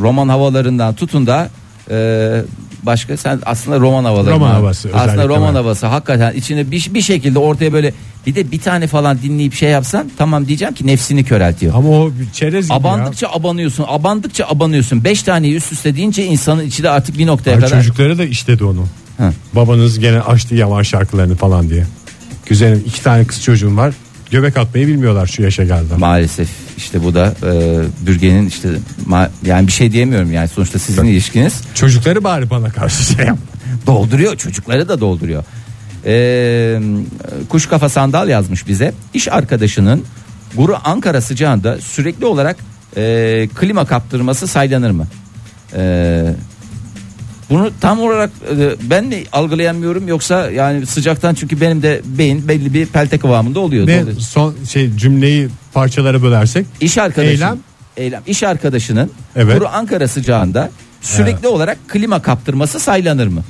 Speaker 3: roman havalarından tutun da e, başka sen aslında roman havaları.
Speaker 2: Roman havası
Speaker 3: Aslında
Speaker 2: özellikle
Speaker 3: roman
Speaker 2: ben.
Speaker 3: havası hakikaten içine bir, bir şekilde ortaya böyle bir de bir tane falan dinleyip şey yapsan tamam diyeceğim ki nefsini köreltiyor.
Speaker 2: Ama o bir çerez gibi ya.
Speaker 3: Abandıkça abanıyorsun, abandıkça abanıyorsun. Beş taneyi üst üste deyince insanın içi de artık bir noktaya
Speaker 2: Ay,
Speaker 3: kadar.
Speaker 2: Çocukları da işledi onu.
Speaker 3: Hı.
Speaker 2: Babanız gene açtı yaman şarkılarını falan diye. Güzelim iki tane kız çocuğum var. Göbek atmayı bilmiyorlar şu yaşa geldi.
Speaker 3: Maalesef işte bu da e, bürgenin işte ma- yani bir şey diyemiyorum yani sonuçta sizin ilişkiniz
Speaker 2: Çocukları bari bana karşı şey yap.
Speaker 3: dolduruyor çocukları da dolduruyor. E, kuş kafa sandal yazmış bize iş arkadaşının guru Ankara sıcağında sürekli olarak e, klima kaptırması saylanır mı? E, bunu tam olarak e, ben mi algılayamıyorum yoksa yani sıcaktan çünkü benim de beyin belli bir pelte kıvamında oluyor.
Speaker 2: Ve
Speaker 3: Doluyor.
Speaker 2: son şey cümleyi parçalara bölersek
Speaker 3: İş arkadaşın.
Speaker 2: Eylem?
Speaker 3: Eylem. İş arkadaşının
Speaker 2: Evet.
Speaker 3: kuru Ankara sıcağında sürekli olarak klima kaptırması saylanır mı?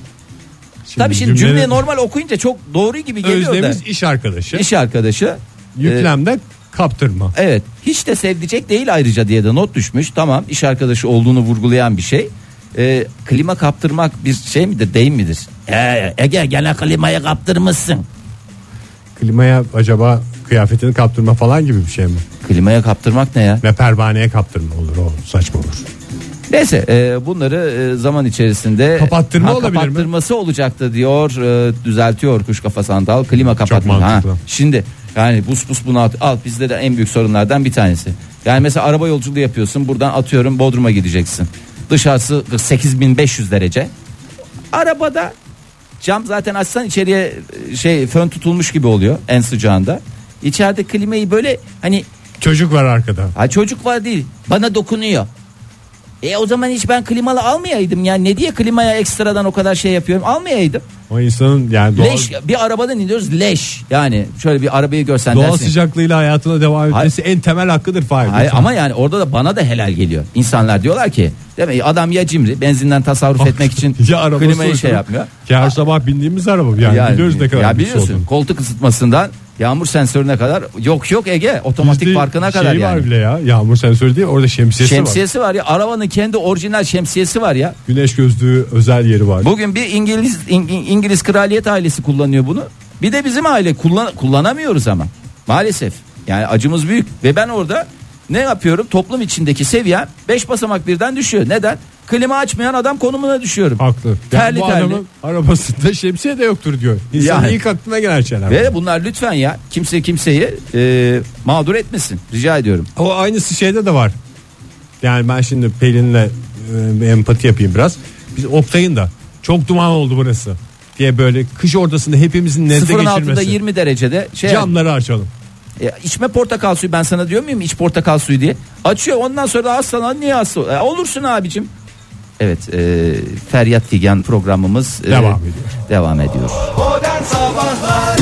Speaker 3: Tabii şimdi
Speaker 2: cümlenin-
Speaker 3: cümleyi normal okuyunca çok doğru gibi geliyor
Speaker 2: Özlemiz
Speaker 3: da.
Speaker 2: iş arkadaşı.
Speaker 3: İş arkadaşı. e,
Speaker 2: Yüklemde kaptırma.
Speaker 3: evet. Hiç de sevdicek değil ayrıca diye de not düşmüş. Tamam iş arkadaşı olduğunu vurgulayan bir şey. E, klima kaptırmak bir şey midir değil midir? E, Ege gene klimayı kaptırmışsın.
Speaker 2: Klimaya acaba kıyafetini kaptırma falan gibi bir şey mi?
Speaker 3: Klimaya kaptırmak ne ya?
Speaker 2: Ve pervaneye kaptırma olur o saçma olur.
Speaker 3: Neyse e, bunları e, zaman içerisinde
Speaker 2: Kapattırma olabilir mi?
Speaker 3: kapattırması olacaktı diyor e, düzeltiyor kuş kafa sandal klima kapatma.
Speaker 2: mantıklı.
Speaker 3: şimdi yani bus bus bunu at, al bizde de en büyük sorunlardan bir tanesi. Yani mesela araba yolculuğu yapıyorsun buradan atıyorum Bodrum'a gideceksin. Dışarısı 48500 derece. Arabada cam zaten açsan içeriye e, şey fön tutulmuş gibi oluyor en sıcağında. İçeride klimayı böyle hani
Speaker 2: Çocuk var arkada.
Speaker 3: ha çocuk var değil bana dokunuyor. E o zaman hiç ben klimalı almayaydım ya. Ne diye klimaya ekstradan o kadar şey yapıyorum? Almayaydım.
Speaker 2: O insanın yani doğal,
Speaker 3: Leş bir arabadan iniyoruz leş. Yani şöyle bir arabayı görsen
Speaker 2: doğal
Speaker 3: dersin.
Speaker 2: sıcaklığıyla hayatına devam etmesi en temel hakkıdır Fahir.
Speaker 3: Hayır,
Speaker 2: Lütfen.
Speaker 3: ama yani orada da bana da helal geliyor. İnsanlar diyorlar ki değil mi? Adam ya cimri benzinden tasarruf etmek için
Speaker 2: ya araba
Speaker 3: klimayı şey
Speaker 2: sonuçta-
Speaker 3: yapmıyor.
Speaker 2: Ki her sabah bindiğimiz araba yani,
Speaker 3: Yani-
Speaker 2: biliyoruz ne kadar
Speaker 3: ya
Speaker 2: lüks
Speaker 3: biliyorsun
Speaker 2: olduğunu.
Speaker 3: koltuk ısıtmasından yağmur sensörüne kadar yok yok Ege otomatik
Speaker 2: Bizde
Speaker 3: farkına
Speaker 2: şey
Speaker 3: kadar
Speaker 2: var
Speaker 3: yani.
Speaker 2: bile ya yağmur sensörü değil orada şemsiyesi, var.
Speaker 3: Şemsiyesi var ya arabanın kendi orijinal şemsiyesi var ya.
Speaker 2: Güneş gözlüğü özel yeri var.
Speaker 3: Bugün bir İngiliz İng- İngiliz kraliyet ailesi kullanıyor bunu. Bir de bizim aile kullan, kullanamıyoruz ama. Maalesef. Yani acımız büyük ve ben orada ne yapıyorum? Toplum içindeki seviye 5 basamak birden düşüyor. Neden? Klima açmayan adam konumuna düşüyorum.
Speaker 2: Haklı. Yani
Speaker 3: Terli
Speaker 2: bu
Speaker 3: terli.
Speaker 2: adamın arabasında şemsiye de yoktur diyor. İnsanın
Speaker 3: Yani.
Speaker 2: ilk aklına gelen şeyler. bunlar.
Speaker 3: Ve bunlar lütfen ya kimse kimseyi e, mağdur etmesin. Rica ediyorum.
Speaker 2: O aynısı şeyde de var. Yani ben şimdi Pelin'le e, bir empati yapayım biraz. Biz Oktay'ın da çok duman oldu burası diye böyle kış ortasında hepimizin nezle
Speaker 3: Sıfırın altında
Speaker 2: geçirmesi.
Speaker 3: 20 derecede şey
Speaker 2: Camları açalım.
Speaker 3: Ya içme portakal suyu ben sana diyor muyum iç portakal suyu diye. Açıyor ondan sonra da hastalan niye hasta ol- E, olursun abicim. Evet e, Feryat Figen programımız e,
Speaker 2: Devam ediyor.
Speaker 3: Devam ediyor.
Speaker 5: Modern Sabahlar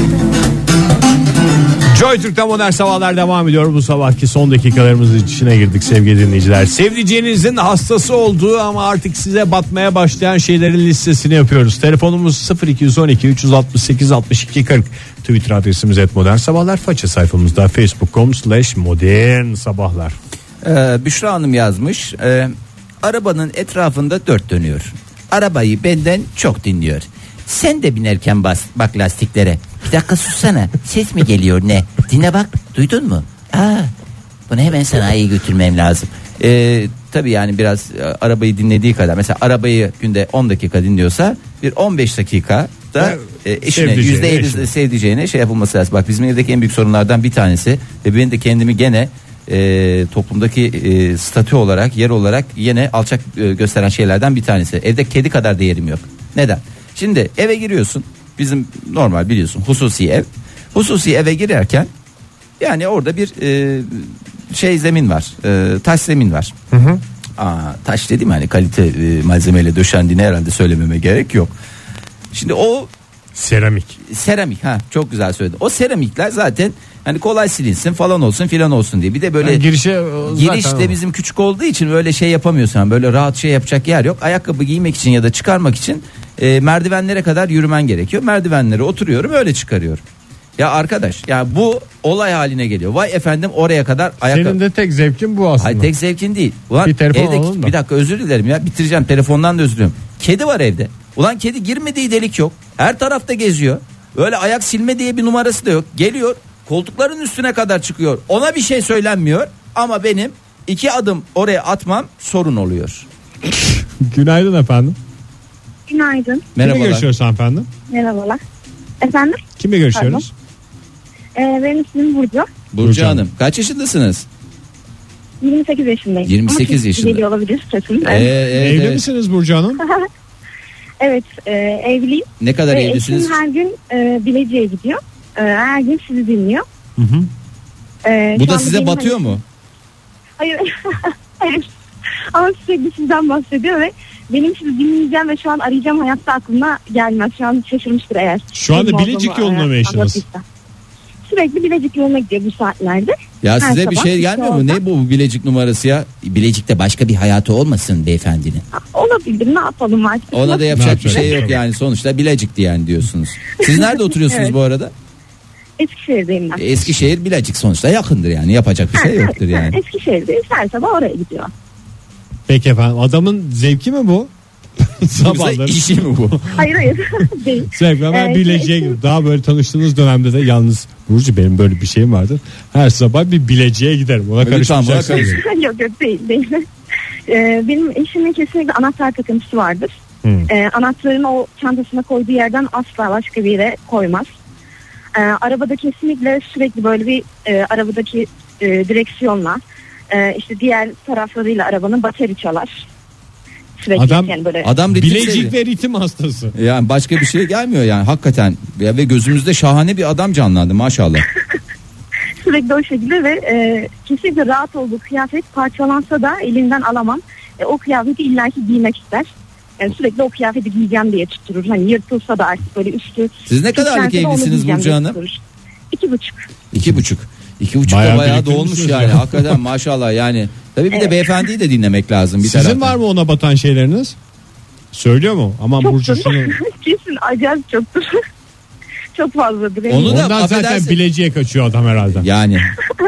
Speaker 2: Joy Türk'te modern sabahlar devam ediyor. Bu sabahki son dakikalarımızın içine girdik sevgili dinleyiciler. Sevdiceğinizin hastası olduğu ama artık size batmaya başlayan şeylerin listesini yapıyoruz. Telefonumuz 0212 368 62 40. Twitter adresimiz et modern sabahlar. Faça sayfamızda facebook.com slash modern sabahlar.
Speaker 3: Ee, Büşra Hanım yazmış. e, arabanın etrafında dört dönüyor. Arabayı benden çok dinliyor. Sen de binerken bas, bak lastiklere. Bir dakika sussana. Ses mi geliyor ne? Dinle bak. Duydun mu? Aa, bunu hemen sanayiye götürmem lazım. Ee, tabii yani biraz e, arabayı dinlediği kadar. Mesela arabayı günde 10 dakika dinliyorsa bir 15 dakika da e, eşine
Speaker 2: Sevdiceğine,
Speaker 3: yüzde elli-
Speaker 2: eşine.
Speaker 3: sevdiceğine şey yapılması lazım. Bak bizim evdeki en büyük sorunlardan bir tanesi ve ben de kendimi gene e, toplumdaki e, statü olarak yer olarak yine alçak e, gösteren şeylerden bir tanesi. Evde kedi kadar değerim yok. Neden? Şimdi eve giriyorsun. Bizim normal biliyorsun hususi ev. Hususi eve girerken yani orada bir e, şey zemin var. E, taş zemin var. Aa, taş dedim hani kalite e, malzemeyle döşendiğini herhalde söylememe gerek yok. Şimdi o
Speaker 2: Seramik.
Speaker 3: seramik ha çok güzel söyledin. O seramikler zaten hani kolay silinsin falan olsun filan olsun diye. Bir de böyle
Speaker 2: Yani girişe e,
Speaker 3: giriş
Speaker 2: zaten
Speaker 3: de
Speaker 2: o.
Speaker 3: bizim küçük olduğu için böyle şey yapamıyorsun. Hani Böyle rahat şey yapacak yer yok. Ayakkabı giymek için ya da çıkarmak için e, merdivenlere kadar yürümen gerekiyor. Merdivenlere oturuyorum öyle çıkarıyorum. Ya arkadaş ya bu olay haline geliyor. Vay efendim oraya kadar ayakkabı.
Speaker 2: Senin de tek zevkin bu aslında.
Speaker 3: Ay tek zevkin değil. Ulan
Speaker 2: Bir telefon
Speaker 3: evde-
Speaker 2: alalım da.
Speaker 3: bir dakika özür dilerim ya bitireceğim telefondan da özür dilerim. Kedi var evde. Ulan kedi girmediği delik yok. Her tarafta geziyor. Öyle ayak silme diye bir numarası da yok. Geliyor koltukların üstüne kadar çıkıyor. Ona bir şey söylenmiyor ama benim iki adım oraya atmam sorun oluyor.
Speaker 2: Günaydın efendim.
Speaker 6: Günaydın.
Speaker 2: Kimle
Speaker 3: Merhabalar.
Speaker 2: görüşüyoruz efendim?
Speaker 6: Merhabalar. Efendim?
Speaker 2: Kimle görüşüyoruz?
Speaker 6: Ee, benim ismim Burcu.
Speaker 3: Burcu Hanım kaç yaşındasınız?
Speaker 6: 28 yaşındayım.
Speaker 3: 28
Speaker 6: Ama Türkçe
Speaker 3: yaşında.
Speaker 6: Geliyor olabilir sesim.
Speaker 3: Ee,
Speaker 6: Evet,
Speaker 3: evet,
Speaker 2: Evli
Speaker 3: evet.
Speaker 2: misiniz Burcu Hanım?
Speaker 6: evet e, evliyim.
Speaker 3: Ne kadar
Speaker 6: Ve
Speaker 3: evlisiniz?
Speaker 6: Eşim her gün e, Bilecik'e gidiyor. E, her gün sizi dinliyor. E,
Speaker 3: Bu
Speaker 6: şu
Speaker 3: da
Speaker 6: anda
Speaker 3: size
Speaker 6: benim
Speaker 3: batıyor mu?
Speaker 6: Hayır. Hayır. Ama sürekli sizden bahsediyor ve benim sizi dinleyeceğim ve şu an arayacağım hayatta aklına gelmez. Şu an şaşırmıştır eğer.
Speaker 2: Şu anda
Speaker 6: Kim olduğumu,
Speaker 2: Bilecik
Speaker 6: e,
Speaker 2: yoluna mı eşiniz?
Speaker 6: anlatırsa. Sürekli Bilecik yoluna gidiyor bu saatlerde.
Speaker 3: Ya
Speaker 6: Her
Speaker 3: size bir
Speaker 6: sabah
Speaker 3: şey
Speaker 6: işte
Speaker 3: gelmiyor mu?
Speaker 6: orada.
Speaker 3: Ne bu Bilecik numarası ya? Bilecik'te başka bir hayatı olmasın beyefendinin.
Speaker 6: Olabilir ne yapalım artık.
Speaker 3: Ona da
Speaker 2: Ne
Speaker 3: yapacak bir
Speaker 2: yapacak?
Speaker 3: şey yok yani sonuçta Bilacik'ti yani diyorsunuz. Siz nerede oturuyorsunuz
Speaker 6: Evet.
Speaker 3: bu arada?
Speaker 6: Eskişehir'deyim ben.
Speaker 3: E, Eskişehir Bilacik sonuçta yakındır yani yapacak bir
Speaker 6: Ha,
Speaker 3: şey
Speaker 6: evet,
Speaker 3: yoktur
Speaker 6: ha,
Speaker 3: yani.
Speaker 6: Eskişehir'deyiz her sabah oraya gidiyor.
Speaker 2: Peki efendim adamın zevki mi bu?
Speaker 3: Yoksa
Speaker 2: Sabahları
Speaker 3: işi mi bu?
Speaker 6: Hayır hayır değil.
Speaker 2: zevk ama ben
Speaker 6: Evet,
Speaker 2: bileceğe
Speaker 6: eşim-
Speaker 2: gidiyorum. Daha böyle tanıştığınız dönemde de yalnız Burcu benim böyle bir şeyim vardır. Her sabah bir bileceğe giderim. Ona
Speaker 3: Lütfen buna
Speaker 2: karışmayacaksınız.
Speaker 3: karışmayın.
Speaker 6: yok yok değil değil. Ee, benim eşimin kesinlikle anahtar takıntısı vardır. Ee, anahtarını o çantasına koyduğu yerden asla başka bir yere koymaz. Ee, arabada kesinlikle sürekli böyle bir e, arabadaki e, direksiyonla e, işte diğer taraflarıyla arabanın bateri çalar. sürekli.
Speaker 7: Adam-
Speaker 6: yani böyle
Speaker 3: Adam ritim
Speaker 7: Bilecik
Speaker 3: seviyor.
Speaker 7: ve ritim hastası.
Speaker 3: Yani başka bir şey gelmiyor yani hakikaten Ya ve gözümüzde şahane bir adam canlandı maşallah.
Speaker 6: sürekli o şekilde ve e, kesinlikle rahat olduğu kıyafet parçalansa da elinden alamam. E, o kıyafeti illaki giymek ister. Yani sürekli o kıyafeti giyeceğim diye tutturur. Hani yırtılsa da artık böyle üstü.
Speaker 3: Siz ne kadarlık
Speaker 6: kirlense de onu
Speaker 3: evlisiniz
Speaker 6: giyeceğim
Speaker 3: Burcu
Speaker 6: diye
Speaker 3: Hanım?
Speaker 6: tutturur. İki buçuk.
Speaker 3: İki buçuk. İki buçuk
Speaker 7: Bayağı
Speaker 3: da bayağı
Speaker 7: biriktirmişsiniz
Speaker 3: dolmuş
Speaker 7: ya.
Speaker 3: yani hakikaten maşallah yani. Tabii bir de beyefendiyi de dinlemek lazım bir
Speaker 7: Sizin
Speaker 3: taraftan.
Speaker 7: var mı ona batan şeyleriniz? Söylüyor mu? Aman Burcu
Speaker 6: Çoktur.
Speaker 7: şunu.
Speaker 6: Kesin acayip çoktur. Çok fazladır. eminim.
Speaker 3: Onu da
Speaker 7: Ondan zaten
Speaker 3: affedersin.
Speaker 7: bileciye kaçıyor adam herhalde.
Speaker 3: Yani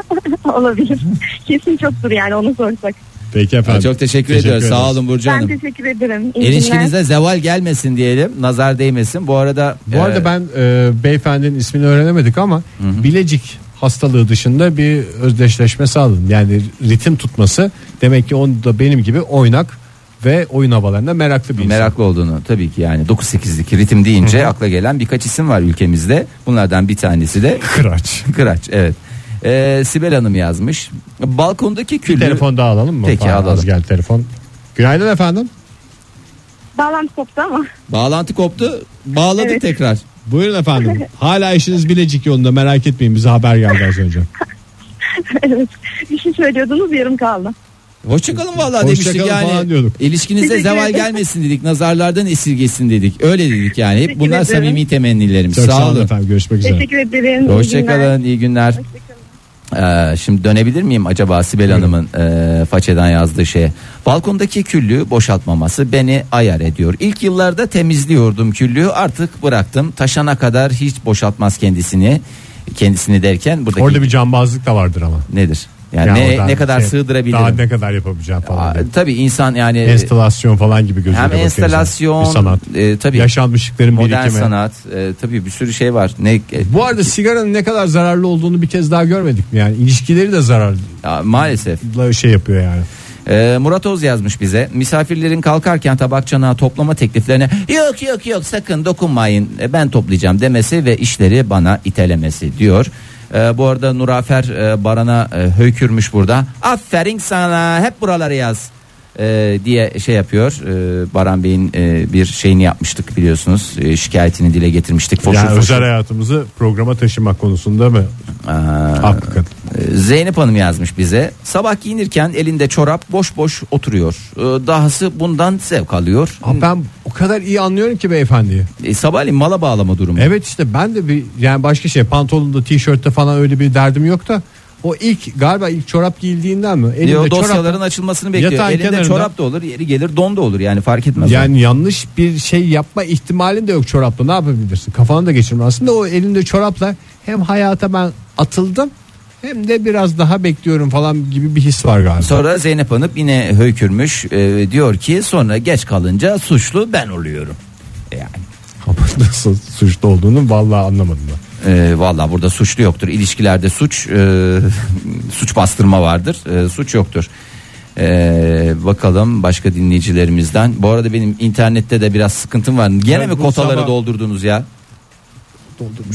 Speaker 6: Olabilir. Kesin çoktur yani onu sorsak.
Speaker 7: Peki efendim.
Speaker 3: çok teşekkür, ediyoruz. Sağ
Speaker 7: ederiz.
Speaker 3: olun Burcu
Speaker 6: Ben
Speaker 3: Hanım.
Speaker 6: teşekkür ederim. İyi günler.
Speaker 3: İlişkinize zeval gelmesin diyelim. Nazar değmesin. Bu arada
Speaker 7: Bu arada
Speaker 3: e,
Speaker 7: ben e, beyefendinin ismini öğrenemedik ama Bilecik hastalığı dışında bir özdeşleşme sağladım. Yani ritim tutması demek ki onu da benim gibi oynak ve oyun havalarında meraklı bir insan.
Speaker 3: meraklı olduğunu tabii ki yani 9-8'lik ritim deyince akla gelen birkaç isim var ülkemizde. Bunlardan bir tanesi de
Speaker 7: Kıraç.
Speaker 3: Kıraç evet. E, Sibel Hanım yazmış. Balkondaki
Speaker 7: Bir
Speaker 3: küllü
Speaker 7: telefon daha alalım mı?
Speaker 3: Peki,
Speaker 7: Fahri
Speaker 3: alalım.
Speaker 7: Az Gel telefon. Günaydın efendim.
Speaker 6: Bağlantı koptu ama.
Speaker 3: bağlantı koptu. Bağladık
Speaker 6: Evet.
Speaker 3: tekrar.
Speaker 7: Buyurun efendim. Hala işiniz Bilecik yolunda merak etmeyin bize haber geldi az önce.
Speaker 6: evet. Bir şey söylüyordunuz yarım kaldı.
Speaker 3: Hoşçakalın vallahi
Speaker 7: Hoşça
Speaker 3: demiştik
Speaker 7: kalın
Speaker 3: yani.
Speaker 7: falan diyorduk.
Speaker 3: İlişkinize
Speaker 6: Teşekkür
Speaker 3: zeval
Speaker 6: ederim.
Speaker 3: gelmesin dedik. Nazarlardan esirgesin dedik. Öyle dedik yani. Hep
Speaker 6: Teşekkür
Speaker 3: bunlar
Speaker 6: ederim.
Speaker 3: samimi temennilerimiz.
Speaker 7: Çok
Speaker 3: Sağ olun.
Speaker 7: efendim. Görüşmek üzere.
Speaker 6: Teşekkür ederim. İyi günler.
Speaker 3: Hoşçakalın. iyi günler. Ee, şimdi dönebilir miyim acaba Sibel Hanım'ın e, façeden yazdığı şeye? Balkondaki küllüğü boşaltmaması beni ayar ediyor. İlk yıllarda temizliyordum küllüğü artık bıraktım. Taşana kadar hiç boşaltmaz kendisini. Kendisini derken buradaki
Speaker 7: Orada bir cambazlık da vardır ama.
Speaker 3: nedir? Yani
Speaker 7: Ya
Speaker 3: ne,
Speaker 7: oradan
Speaker 3: ne kadar
Speaker 7: şey, Daha
Speaker 3: sığdırabilirim?
Speaker 7: ne kadar yapabileceğim falan.
Speaker 3: Aa,
Speaker 7: diye.
Speaker 3: Tabii insan yani
Speaker 7: Enstalasyon falan gibi
Speaker 3: Ee,
Speaker 7: gözüyle
Speaker 3: hem
Speaker 7: bakıyor insan.
Speaker 3: enstalasyon
Speaker 7: Bir sanat.
Speaker 3: e, tabii
Speaker 7: Yaşanmışlıkların
Speaker 3: modern
Speaker 7: birikimi.
Speaker 3: sanat e, tabii bir sürü şey var. Ne e,
Speaker 7: Bu arada sigaranın ne kadar zararlı olduğunu bir kez daha görmedik mi? Yani ilişkileri de zararlı
Speaker 3: ya, maalesef
Speaker 7: şey yapıyor yani.
Speaker 3: Ee, Murat Oz yazmış bize. Misafirlerin kalkarken tabak çanağı toplama tekliflerine yok yok yok sakın dokunmayın e, ben toplayacağım demesi ve işleri bana itelemesi diyor. Ee, bu arada Nurafer e, Baran'a e, höykürmüş burada. Aferin sana hep buraları yaz e, diye şey yapıyor. Ee, Baran Bey'in e, bir şeyini yapmıştık biliyorsunuz. E, şikayetini dile getirmiştik. Foşur
Speaker 7: yani
Speaker 3: foşur.
Speaker 7: özel hayatımızı programa taşımak konusunda mı? Haklı kadın.
Speaker 3: Ee, Zeynep Hanım yazmış bize. Sabah giyinirken elinde çorap boş boş oturuyor. Ee, Dahası bundan zevk alıyor.
Speaker 7: Aa, Ben o kadar iyi anlıyorum ki beyefendiyi.
Speaker 3: E, sabahleyin mala bağlama durumu.
Speaker 7: Evet işte ben de bir yani başka şey pantolonda tişörtte falan öyle bir derdim yok da o ilk galiba ilk çorap giyildiğinden mi? Elinde
Speaker 3: Diyor,
Speaker 7: çorap-
Speaker 3: dosyaların açılmasını bekliyor.
Speaker 7: Yatağın
Speaker 3: Elinde
Speaker 7: kenarında-
Speaker 3: çorap da olur, yeri gelir don da olur yani fark etmez.
Speaker 7: Yani yanlış bir şey yapma ihtimalin de yok çorapla ne yapabilirsin? Kafanı da geçirme aslında o elinde çorapla hem hayata ben atıldım hem de biraz daha bekliyorum falan gibi bir his var galiba.
Speaker 3: Sonra Zeynep Hanım yine höykürmüş e, diyor ki sonra geç kalınca suçlu ben oluyorum. E, Yani
Speaker 7: Ama Nasıl suçlu olduğunu vallahi anlamadım ben.
Speaker 3: e, valla burada suçlu yoktur. İlişkilerde suç e, suç bastırma vardır. E, suç yoktur. E, bakalım başka dinleyicilerimizden. Bu arada benim internette de biraz sıkıntım var. Gene
Speaker 7: Ben
Speaker 3: mi
Speaker 7: bu
Speaker 3: kotaları
Speaker 7: sabah-
Speaker 3: doldurdunuz ya?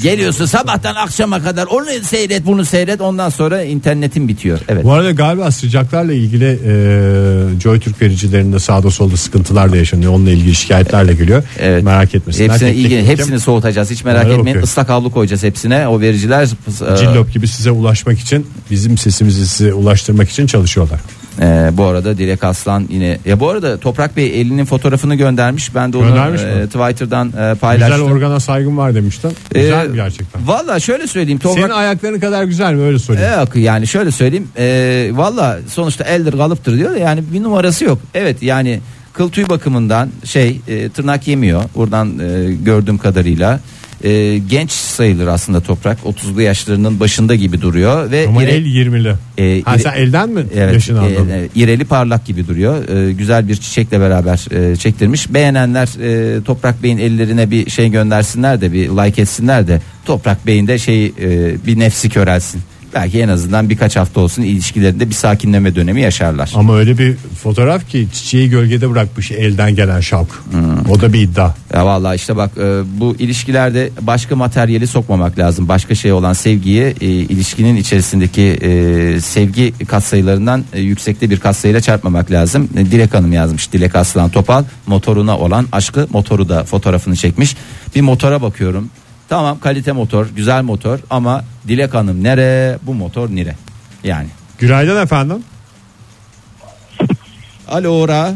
Speaker 3: Geliyorsun sabahtan akşama kadar onu seyret bunu seyret ondan sonra internetin bitiyor. Evet.
Speaker 7: Bu arada galiba sıcaklarla ilgili e, JoyTürk vericilerinde sağda solda sıkıntılar da yaşanıyor. Onunla ilgili şikayetlerle geliyor.
Speaker 3: Evet.
Speaker 7: Merak etmesinler.
Speaker 3: Hepsine
Speaker 7: Tek
Speaker 3: iyi
Speaker 7: tek
Speaker 3: gel-
Speaker 7: bakayım.
Speaker 3: hepsini soğutacağız hiç merak
Speaker 7: Onlara
Speaker 3: etmeyin.
Speaker 7: bakıyorum.
Speaker 3: Islak havlu koyacağız hepsine. O vericiler e,
Speaker 7: Cillop gibi size ulaşmak için bizim sesimizi size ulaştırmak için çalışıyorlar.
Speaker 3: Ee, bu arada Dilek Aslan yine ya bu arada Toprak Bey elinin fotoğrafını göndermiş. Ben de onu
Speaker 7: Göndermiş mi?
Speaker 3: e, Twitter'dan e,
Speaker 7: Güzel
Speaker 3: paylaştım.
Speaker 7: organa saygım var demiştin. Güzel
Speaker 3: Ee,
Speaker 7: gerçekten.
Speaker 3: Valla şöyle söyleyeyim
Speaker 7: Senin
Speaker 3: Toprak
Speaker 7: ayakların kadar güzel mi öyle sorayım.
Speaker 3: Yok, yani şöyle söyleyeyim e, valla sonuçta eldir kalıptır diyor da yani bir numarası yok. Evet yani kıl tüy bakımından şey e, tırnak yemiyor buradan e, gördüğüm kadarıyla. E, genç sayılır aslında toprak 30'lu yaşlarının başında gibi duruyor ve
Speaker 7: Ama
Speaker 3: ire-
Speaker 7: el 20'li.
Speaker 3: Ee,
Speaker 7: ha,
Speaker 3: iri-
Speaker 7: sen elden mi
Speaker 3: e, Evet,
Speaker 7: yaşını
Speaker 3: e,
Speaker 7: aldın?
Speaker 3: e, ireli parlak gibi duruyor. E, güzel bir çiçekle beraber e, çektirmiş. Beğenenler e, Toprak Bey'in ellerine bir şey göndersinler de bir like etsinler de Toprak Bey'in de şey e, bir nefsi körelsin. Belki en azından birkaç hafta olsun ilişkilerinde bir sakinleme dönemi yaşarlar.
Speaker 2: Ama öyle bir fotoğraf ki çiçeği gölgede bırakmış elden gelen şapk.
Speaker 3: Hmm.
Speaker 2: O da bir iddia.
Speaker 3: Ya vallahi işte bak e, bu ilişkilerde başka materyali sokmamak lazım. Başka şey olan sevgiyi e, ilişkinin içerisindeki e, sevgi katsayılarından e, yüksekte bir katsayıyla çarpmamak lazım. E, Dilek Hanım yazmış. Dilek Aslan Topal motoruna olan aşkı motoru da fotoğrafını çekmiş. Bir motora bakıyorum. Tamam kalite motor, güzel motor ama Dilek Hanım nere? Bu motor nire? Yani.
Speaker 2: Günaydın efendim.
Speaker 3: Alo ora.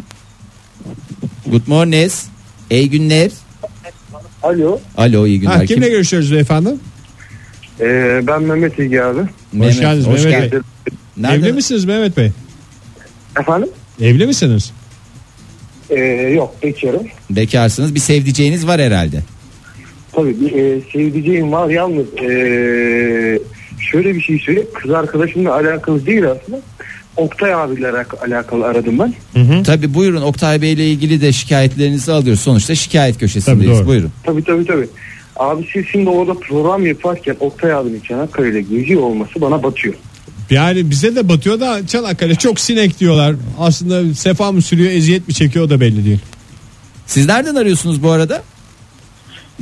Speaker 3: Good morning. İyi günler.
Speaker 4: Alo.
Speaker 3: Alo iyi günler.
Speaker 2: Ha, kimle görüşüyoruz efendim?
Speaker 4: Ee, ben Mehmet İlgi abi.
Speaker 2: Hoş geldiniz Mehmet Bey.
Speaker 3: Nerede?
Speaker 2: Evli misiniz Mehmet Bey?
Speaker 4: Efendim?
Speaker 2: Evli misiniz?
Speaker 4: Ee, yok geçiyorum.
Speaker 3: Bekarsınız. Bir sevdiceğiniz var herhalde.
Speaker 4: Tabii bir e, sevdiceğim var yalnız e, şöyle bir şey söyleyeyim. Kız arkadaşımla alakalı değil aslında. Oktay abiyle alak- alakalı aradım ben.
Speaker 3: Tabii buyurun Oktay Bey ile ilgili de şikayetlerinizi alıyoruz. Sonuçta şikayet köşesindeyiz.
Speaker 2: Tabii, doğru.
Speaker 3: Buyurun.
Speaker 4: Tabii tabii tabii. Abi siz şimdi orada program yaparken Oktay abinin Çanakkale'de geziyor olması bana batıyor.
Speaker 2: Yani bize de batıyor da Çanakkale çok sinek diyorlar. Aslında sefa mı sürüyor eziyet mi çekiyor o da belli değil.
Speaker 3: Siz nereden arıyorsunuz bu arada?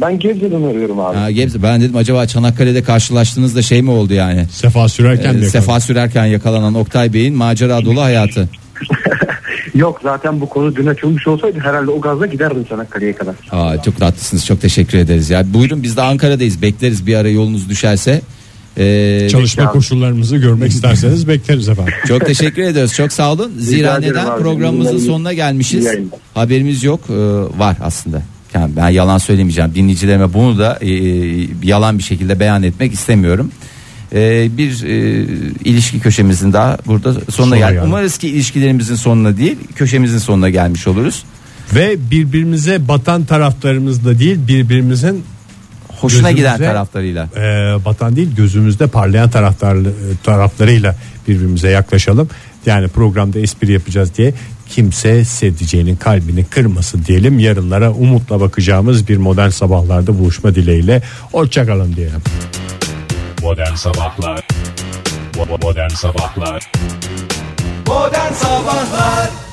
Speaker 4: Ben Gebze'den arıyorum abi.
Speaker 3: Ha, Gebze. Ben dedim acaba Çanakkale'de karşılaştığınızda şey mi oldu yani?
Speaker 2: Sefa sürerken
Speaker 3: Ee,
Speaker 2: de
Speaker 3: sefa sürerken yakalanan Oktay Bey'in macera dolu hayatı.
Speaker 4: Yok zaten bu konu dün açılmış olsaydı herhalde o gazla giderdim Çanakkale'ye kadar.
Speaker 3: Aa, çok tatlısınız. Çok teşekkür ederiz. Ya buyurun biz de Ankara'dayız. Bekleriz bir ara yolunuz düşerse. Ee,
Speaker 2: Çalışma
Speaker 4: Peki abi.
Speaker 2: koşullarımızı görmek isterseniz bekleriz efendim.
Speaker 3: Çok teşekkür ediyoruz. Çok sağ olun. Zira
Speaker 4: ederim
Speaker 3: neden
Speaker 4: abi.
Speaker 3: programımızın
Speaker 4: Yayın-
Speaker 3: sonuna gelmişiz.
Speaker 4: yayınlar.
Speaker 3: Haberimiz yok. Ee, var aslında. Yani ben yalan söylemeyeceğim. Dinleyicilerime bunu da e, yalan bir şekilde beyan etmek istemiyorum. Ee, bir e, ilişki köşemizin daha burada sonuna
Speaker 2: Sonuna
Speaker 3: geldi.
Speaker 2: geldi.
Speaker 3: Umarız ki ilişkilerimizin sonuna değil, köşemizin sonuna gelmiş oluruz.
Speaker 2: Ve birbirimize batan taraflarımız da değil birbirimizin
Speaker 3: Hoşuna
Speaker 2: Gözümüze-
Speaker 3: giden taraflarıyla.
Speaker 2: e, batan değil gözümüzde parlayan taraftarlı, e, taraflarıyla birbirimize yaklaşalım. Yani programda espri yapacağız diye kimse sevdiceğinin kalbini kırmasın diyelim. Yarınlara umutla bakacağımız bir modern sabahlarda buluşma dileğiyle. Hoşçakalın diyelim.
Speaker 8: Modern Sabahlar Bo- bo- Modern Sabahlar
Speaker 9: Modern Sabahlar